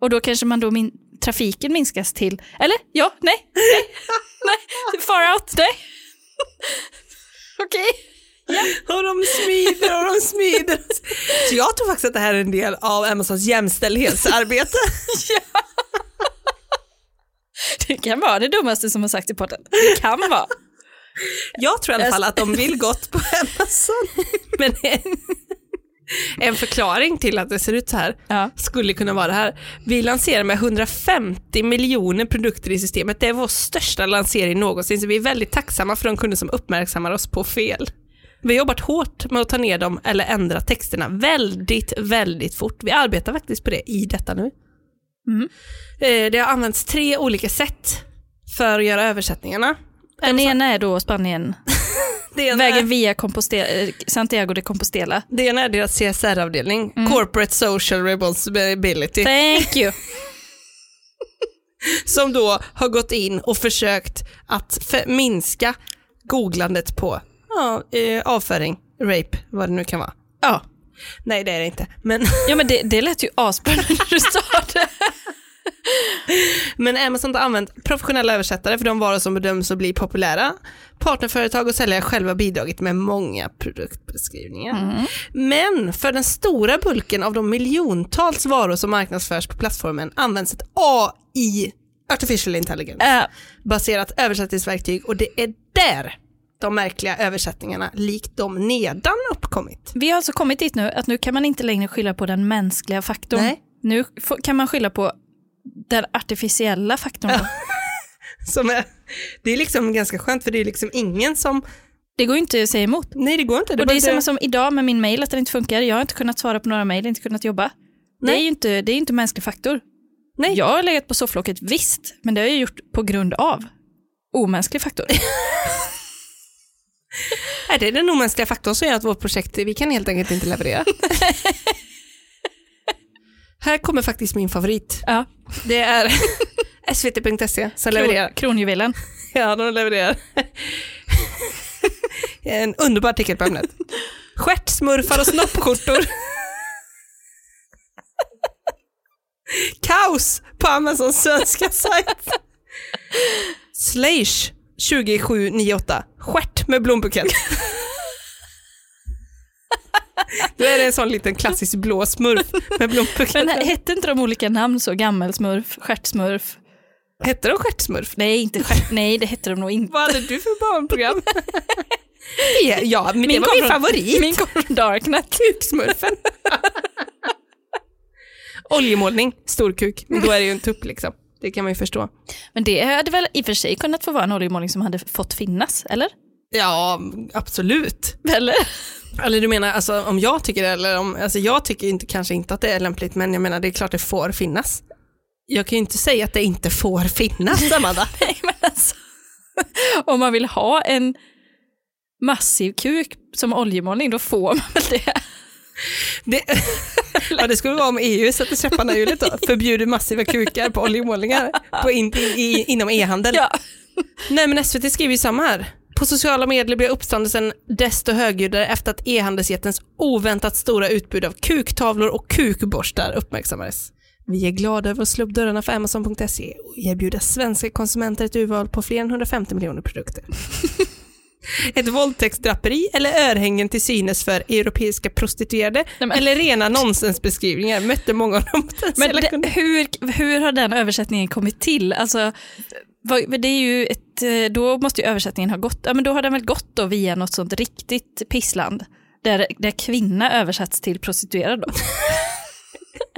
och då kanske man då min, trafiken minskas till, eller? Ja, nej, nej, nej, far out, nej. Okej.
Och de smider och de smider. Så jag tror faktiskt att det här är en del av Amazons jämställdhetsarbete.
Det kan vara det dummaste som har sagts i podden. Det kan vara.
Jag tror i alla fall att de vill gott på Amazon. Men en, en förklaring till att det ser ut så här
Ja.
skulle kunna vara det här. Vi lanserar med 150 miljoner produkter i systemet. Det är vår största lansering någonsin, så vi är väldigt tacksamma för de kunder som uppmärksammar oss på fel. Vi har jobbat hårt med att ta ner dem eller ändra texterna väldigt, väldigt fort. Vi arbetar faktiskt på det i detta nu.
Mm.
Eh, Det har använts tre olika sätt för att göra översättningarna.
Den ena är då Spanien,
Det ena är-
vägen via Composte- eh, Santiago de Compostela.
Det ena är deras CSR-avdelning, Corporate Social Responsibility,
Thank you.
som då har gått in och försökt att för- minska googlandet på ja, eh, avföring, rape, vad det nu kan vara. Ja. Nej, det är det inte. Men,
Ja men det, det lät ju asbra när du sa det.
men Amazon har använt professionella översättare för de varor som bedöms att bli populära. Partnerföretag och säljare själva bidragit med många produktbeskrivningar.
Mm.
Men för den stora bulken av de miljontals varor som marknadsförs på plattformen används ett AI, artificial intelligence.
Eh,
baserat översättningsverktyg och det är där de märkliga översättningarna likt de nedan uppkommit.
vi har alltså kommit dit nu att nu kan man inte längre skylla på den mänskliga faktorn.
Nej.
Nu f- kan man skylla på den artificiella faktorn. då.
Som är, det är liksom ganska skönt för det är liksom ingen som
Det går ju inte att säga emot.
Nej, det går inte.
Och det
bara
är
inte-
samma som idag med min mail, att den inte funkar. Jag har inte kunnat svara på några mail, inte kunnat jobba. Det är ju inte, det är inte mänsklig faktor.
Nej.
Jag har legat på sofflocket, visst, men det har jag gjort på grund av omänsklig faktor.
Nej, det är den omänskliga faktorn som gör att vårt projekt, vi kan helt enkelt inte leverera. Här kommer faktiskt min favorit.
ja.
Det är svt.se som levererar.
Kron, kronjuvelen.
Ja, de levererar. en underbar artikel på ämnet. Stjärtsmurfar och snoppskjortor. Kaos på Amazons svenska sajt. Slash 2798. Stjärt med blombukett. Då är det en sån liten klassisk blå smurf med
Men
blombukett.
hette inte de olika namn så? Gammelsmurf, stjärtsmurf?
Hette de stjärtsmurf?
Nej, inte stjärt, nej, det hette de nog inte.
Vad hade du för barnprogram? ja, ja, men det var
kom
min
från-
favorit.
Min kom från Darknet.
Kuksmurfen. Oljemålning, stor kuk. Men då är det ju en tupp liksom. Det kan man ju förstå.
Men det hade väl i och för sig kunnat få vara en oljemålning som hade fått finnas, eller?
Ja, absolut.
Eller?
Eller du menar alltså, om jag tycker det, eller om, alltså, jag tycker inte, kanske inte att det är lämpligt, men jag menar det är klart det får finnas. Jag kan ju inte säga att det inte får finnas, Amanda.
Nej, men alltså, om man vill ha en massiv kuk som oljemålning, då får man väl det.
Det, ja, det skulle vara om EU sätter käpparna i hjulet då. Förbjuder massiva kukar på oljemålningar på in, i, inom e-handel.
Ja.
Nej men SVT skriver ju samma här. På sociala medier blev uppståndelsen desto högljuddare efter att e-handelsjättens oväntat stora utbud av kuktavlor och kukborstar uppmärksammades. Vi är glada över att slå upp dörrarna för Amazon.se E och erbjuda svenska konsumenter ett urval på fler än 150 miljoner produkter. ett våldtäktsdraperi eller örhängen till synes för europeiska prostituerade
men-
eller rena nonsensbeskrivningar mötte många av de
Men
potentiella
det,
kunderna.
hur, hur har den översättningen kommit till? Alltså, vad, men det är ju ett, eh, då måste ju översättningen ha gått, ja, men då har den väl gått då via något sånt riktigt pissland, där, där kvinna översätts till prostituerad då.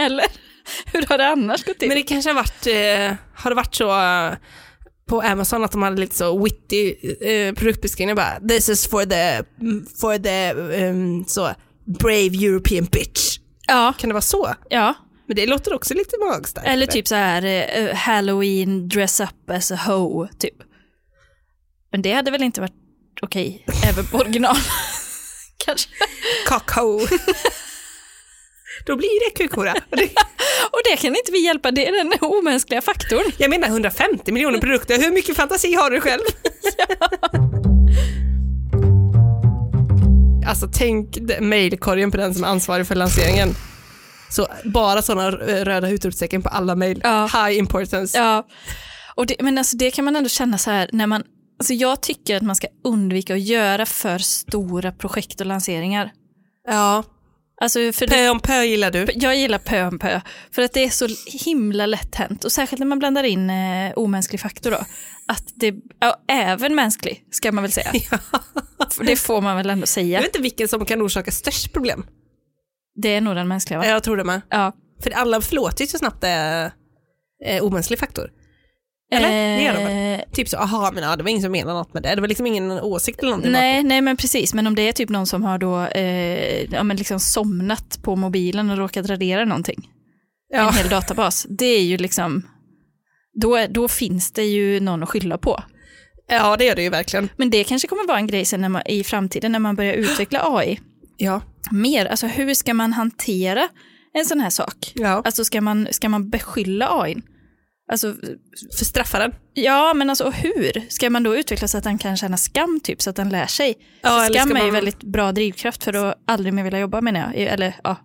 Eller? Hur har det annars gått till?
Men det kanske har varit, eh, har det varit så eh, på Amazon att de hade lite så witty eh, produktbeskrivningar bara this is for the, mm, for the um, så, brave European bitch.
ja,
Kan det vara så?
ja.
Men det låter också lite magstarkt.
Eller typ så här eh, halloween dress up as a hoe, typ. Men det hade väl inte varit okej, även på original. Kanske.
kakao. Då blir det kukhora. Och det-
Och det kan inte vi hjälpa, det är den omänskliga faktorn.
Jag menar 150 miljoner produkter, hur mycket fantasi har du själv? Alltså tänk d- mejlkorgen på den som är ansvarig för lanseringen. Så bara sådana röda utropstecken på alla mejl.
Ja.
High importance.
Ja. Och det, men alltså det kan man ändå känna så här när man, alltså jag tycker att man ska undvika att göra för stora projekt och lanseringar.
Ja.
Alltså för det,
Pö om pö gillar du.
jag gillar pö om pö, för att det är så himla lätt hänt och särskilt när man blandar in eh, omänsklig faktor då. Att det, ja, även mänsklig ska man väl säga. För Det får man väl ändå
Jag
säga.
vet inte vilken som kan orsaka störst problem.
Det är nog den mänskliga va?
Jag tror det med.
Ja.
För alla förlåter ju så snabbt det är eh, omänsklig faktor. Eller? Det gör de väl?
Eh,
Typ så, aha men ja, det var ingen som menade något med det. Det var liksom ingen åsikt eller någonting.
Nej, nej men precis, men om det är typ någon som har då, eh, ja, men liksom somnat på mobilen och råkat radera någonting, en
Ja.
hel databas, det är ju liksom, då, är- då finns det ju någon att skylla på.
ja, det gör det ju verkligen.
Men det kanske kommer vara en grej sen när man, i framtiden när man börjar utveckla AI
Ja.
mer, alltså hur ska man hantera en sån här sak?
ja.
Alltså ska man, ska man beskylla AI? n? Alltså,
För straffa den.
ja men alltså och hur? Ska man då utveckla så att den kan känna skam typ, så att den lär sig?
Ja, eller
skam
ska
är ju
man-
väldigt bra drivkraft för att aldrig mer vilja jobba menar jag. Eller, ja.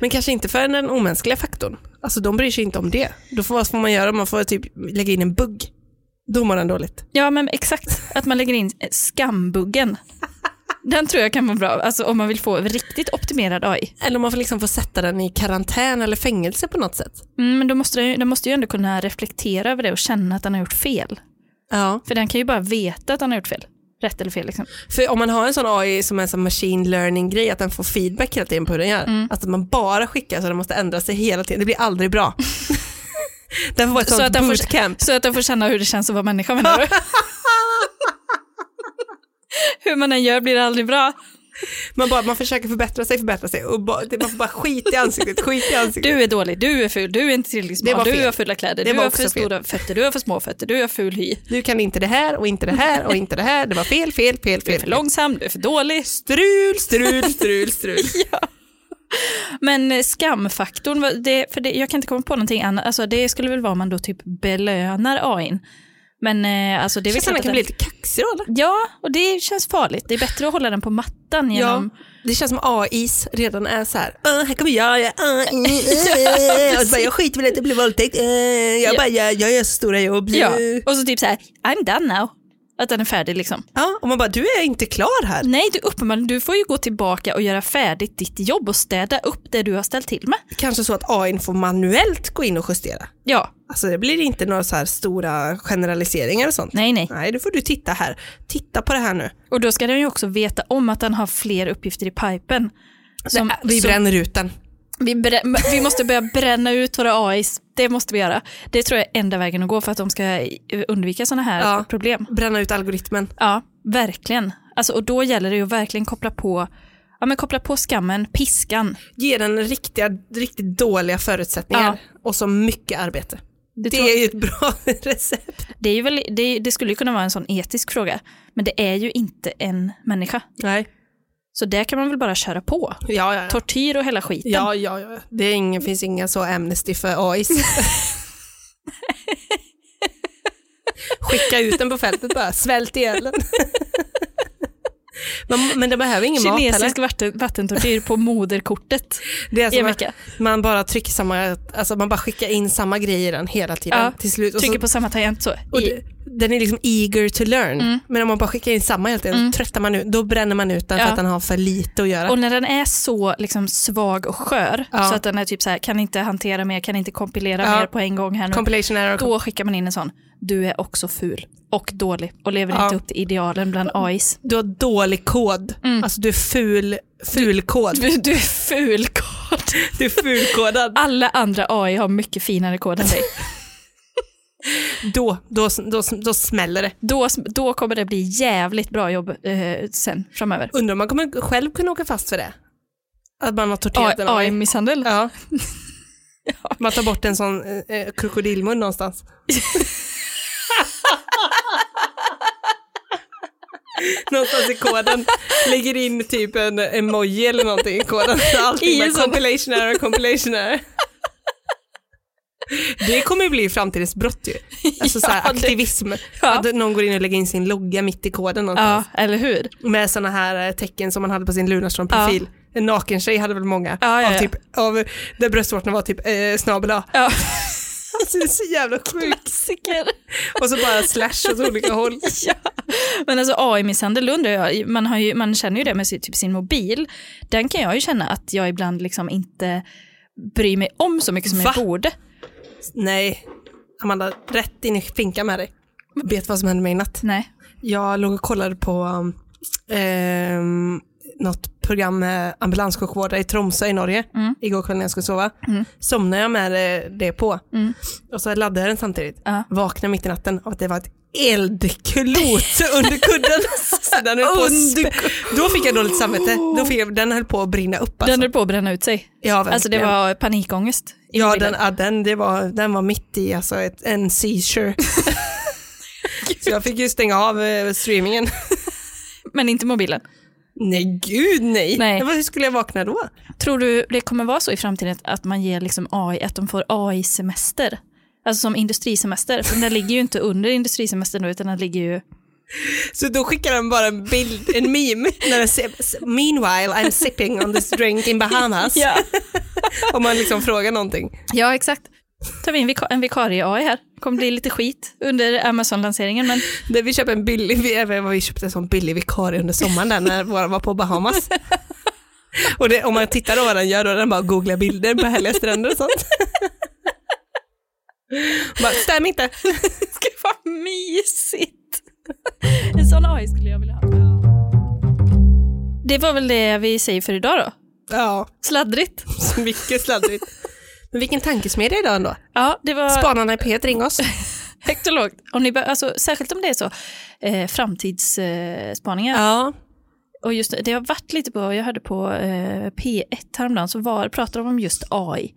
Men kanske inte för den omänskliga faktorn. Alltså de bryr sig inte om det. Då får, vad får man göra? Man får typ lägga in en bugg. Då mår den dåligt.
ja, men exakt. Att man lägger in eh, skambuggen. Den tror jag kan vara bra, alltså om man vill få riktigt optimerad AI.
Eller man får liksom få sätta den i karantän eller fängelse på något sätt.
Mm, men då måste den, ju- den måste ju ändå kunna reflektera över det och känna att den har gjort fel.
Ja.
För den kan ju bara veta att den har gjort fel. Rätt eller fel liksom.
För om man har en sån AI som är en sån machine learning grej, att den får feedback hela tiden på hur den gör. Alltså att man bara skickar så den måste ändra sig hela tiden. Det blir aldrig bra. den får vara ett
Så att
sånt
den får-
bootcamp.
Så att den får känna hur det känns att vara människa menar du? Hur man än gör blir det aldrig bra.
Man, bara, man försöker förbättra sig, förbättra sig och bara, det, man får bara skit i ansiktet, skit i ansiktet.
Du är dålig, du är ful, du är inte tillräckligt
Det
smart,
var
du
fel.
har fula kläder,
Det
du
var
har
också
för stora fötter, du har för små fötter, du har ful hy.
Du kan inte det här och inte det här och inte det här. Det var fel, fel, fel,
Du är
fel.
för långsam, du är för dålig.
Strul, strul, strul, strul.
Men eh, skamfaktorn, vad- det, för det, jag kan inte komma på någonting annat, alltså, det skulle väl vara om man då typ belönar AIn. Men eh, alltså det är väl
Känns
klart
som man
att
kan
den-
bli lite kaxig då, eller?
Ja, och det känns farligt. Det är bättre att hålla den på mattan genom...
det känns som AIs redan är så här, "Åh, här kommer jag, jag, är AI, äh, äh." Och så bara, jag skiter väl i att det blir våldtäkt, äh, jag,
Ja.
bara, jag, jag gör så stora jobb.
Ja.
Ja.
Och så typ så här, I'm done now. Att den är färdig liksom.
ja, och man bara, du är inte klar här.
Nej, du uppenbarligen, du får ju gå tillbaka och göra färdigt ditt jobb och städa upp det du har ställt till med.
Kanske så att AI får manuellt gå in och justera.
Ja,
Alltså det blir inte några så här stora generaliseringar och sånt.
nej, nej.
Nej, då får du titta här. Titta på det här nu.
Och då ska den ju också veta om att den har fler uppgifter i pipen. Som,
vi
som-
bränner ut den.
vi, brä- vi måste börja bränna ut våra AIs. Det måste vi göra. Det tror jag är enda vägen att gå för att de ska eh, undvika sådana här
Ja.
problem.
Bränna ut algoritmen.
Ja, verkligen. Alltså, och då gäller det ju att verkligen koppla på, ja, men koppla på skammen, piskan.
Ge den riktiga, riktigt dåliga förutsättningar och så mycket arbete. Det,
tror-
är ju ett bra recept.
Det, är ju väl, det, det skulle ju kunna vara en sån etisk fråga, men det är ju inte en människa.
Nej.
Så där kan man väl bara köra på.
Ja, ja, ja.
Tortyr och hela skiten.
Ja, ja, ja. Det är ingen, finns inga så amnesty för AIs. Skicka ut den på fältet bara, svält ihjäl den. Men- Men det behöver ingen mat heller.
Kinesisk vatten, vattentortyr på moderkortet.
Det är
i en
som
vecka.
att man bara trycker samma, alltså man bara skickar in samma grejer i den hela tiden
Ja,
till slut. Och så-
Trycker på samma tangent så.
och
I, Mm.
det, den är liksom eager to learn. Men om man bara skickar in samma hela tiden, tröttar man ut, då bränner man ut den för
Ja.
att den har för lite att göra.
och när den är så liksom, svag och skör,
Ja.
så att den är typ så här, kan inte hantera mer, kan inte kompilera
Ja.
mer på en gång här nu.
Compilation error.
Då skickar man in en sån. Du är också ful och dålig och lever
Ja.
inte upp till idealen bland AIs.
Du har dålig kod. Alltså du är ful, fulkod.
Mm. Du, du är ful kod.
Du är fulkodad.
Alla andra AI har mycket finare kod än dig.
då, då, då, då smäller det.
Då, då kommer det bli jävligt bra jobb eh, sen framöver.
Undrar om man kommer själv kunna åka fast för det? Att man har torterat en AI.
AI-misshandel.
Ja. Man tar bort en sån eh, eh, krokodilmun någonstans. någonstans i koden. Lägger in typ en emoji eller någonting i koden. Så
I
allting
en
bara
sån-
compilation error, compilation error. Det kommer ju bli framtidens brott ju. Alltså så här
Ja, det-
aktivism.
Ja.
Att någon går in och lägger in sin logga mitt i koden
Ja,
någonstans.
eller hur?
Med sådana här eh, tecken som man hade på sin Lunarstorm-profil. En naken tjej hade väl många.
Ja, ja,
av
ja.
typ, av, där bröstvårtorna var typ eh, snabel A.
Ja.
Alltså, det är så jävla sjukt.
Klassiker.
Och så bara slash åt olika håll.
Ja. Men alltså AI-misshandel undrar jag, man, har ju, man känner ju det med sin, typ sin mobil. Den kan jag ju känna att jag ibland liksom inte bryr mig om så mycket som
Va?
jag borde.
Nej, Amanda, rätt in i finkan med dig. Vet vad som hände mig i natt?
Nej.
Jag låg och kollade på um, ehm, något program med ambulanssjukvårdare i Tromsö i Norge igår kväll när jag skulle sova. Somnade jag med eh, det på och så laddade jag den samtidigt.
Ja.
Vaknade mitt i natten av att det var ett eldklot under kudden. Så den höll på att spä- Då fick jag dåligt samvete. Då fick jag, den höll på att brinna upp. Alltså.
Den höll på att bränna ut sig.
Ja, verkligen.
Alltså det var panikångest. i
Ja,
mobilen.
den, ja den, det var, den var mitt i alltså ett, en seizure. så jag fick ju stänga av eh, streamingen.
Men inte mobilen.
Nej, gud nej.
Nej.
Men Hur skulle jag vakna då?
Tror du det kommer vara så i framtiden att- att man ger liksom AI, att de får AI-semester? Alltså som industrisemester, för den ligger ju inte under industrisemestern då, utan den ligger ju...
Så då skickar han bara en bild, en meme. När den ser, Meanwhile I'm sipping on this drink in Bahamas. Om man liksom frågar någonting.
ja exakt. Tar vi in vika- en vikarie-AI här. Kommer bli lite skit under Amazon-lanseringen, men
Där vi köper en billig, vi, även vad vi köpte en sån billig vikarie under sommaren där när våra var på Bahamas. Och det, om man tittar då vad den gör då, den bara googlar bilder på härliga stränder och sånt. Bara, stäm inte.
det skulle vara mysigt. En sån AI skulle jag vilja ha. Det var väl det vi säger för idag då.
Ja,
Sladdrigt.
så mycket sladdrigt. Men vilken tankesmedja idag ändå.
Ja, det var...
Spanarna i P1, ring oss.
Högt och lågt. Om ni bör, alltså, särskilt om det är så eh, framtidsspaningar. Eh, spaningar.
Ja.
Och just det, det har varit lite på, jag hörde på eh, P1 häromdagen så var, pratade de om just AI.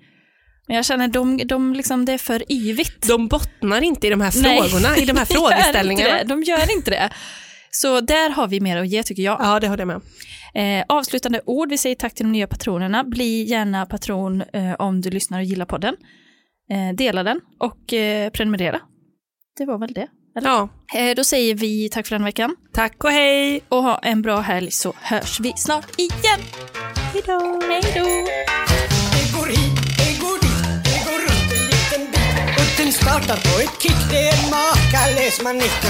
Men jag känner de, de liksom, det är för yvigt.
De bottnar inte i de här
Nej.
frågorna, i de här
De gör inte
frågeställningarna.
det. De gör inte det. Så där har vi mer att ge tycker jag.
Ja, det håller jag med om.
Eh, avslutande ord, vi säger tack till de nya patronerna. Bli gärna patron eh, om du lyssnar och gillar podden. Eh, dela den och eh, prenumerera. Det var väl det.
Ja.
Eh, då säger vi tack för den veckan
Tack och hej!
och ha en bra helg så hörs vi snart igen. Hejdå! Hejdå!
Det går hit, det går dit, det går runt en liten bit Och den startar på ett kick, det är en makalös manick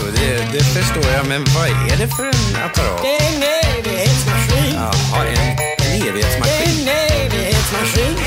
Och Det, det förstår jag, men vad är det för en apparat?
Det är en evighetsmaskin
Jaha, en en evighetsmaskin.
Det är en evighetsmaskin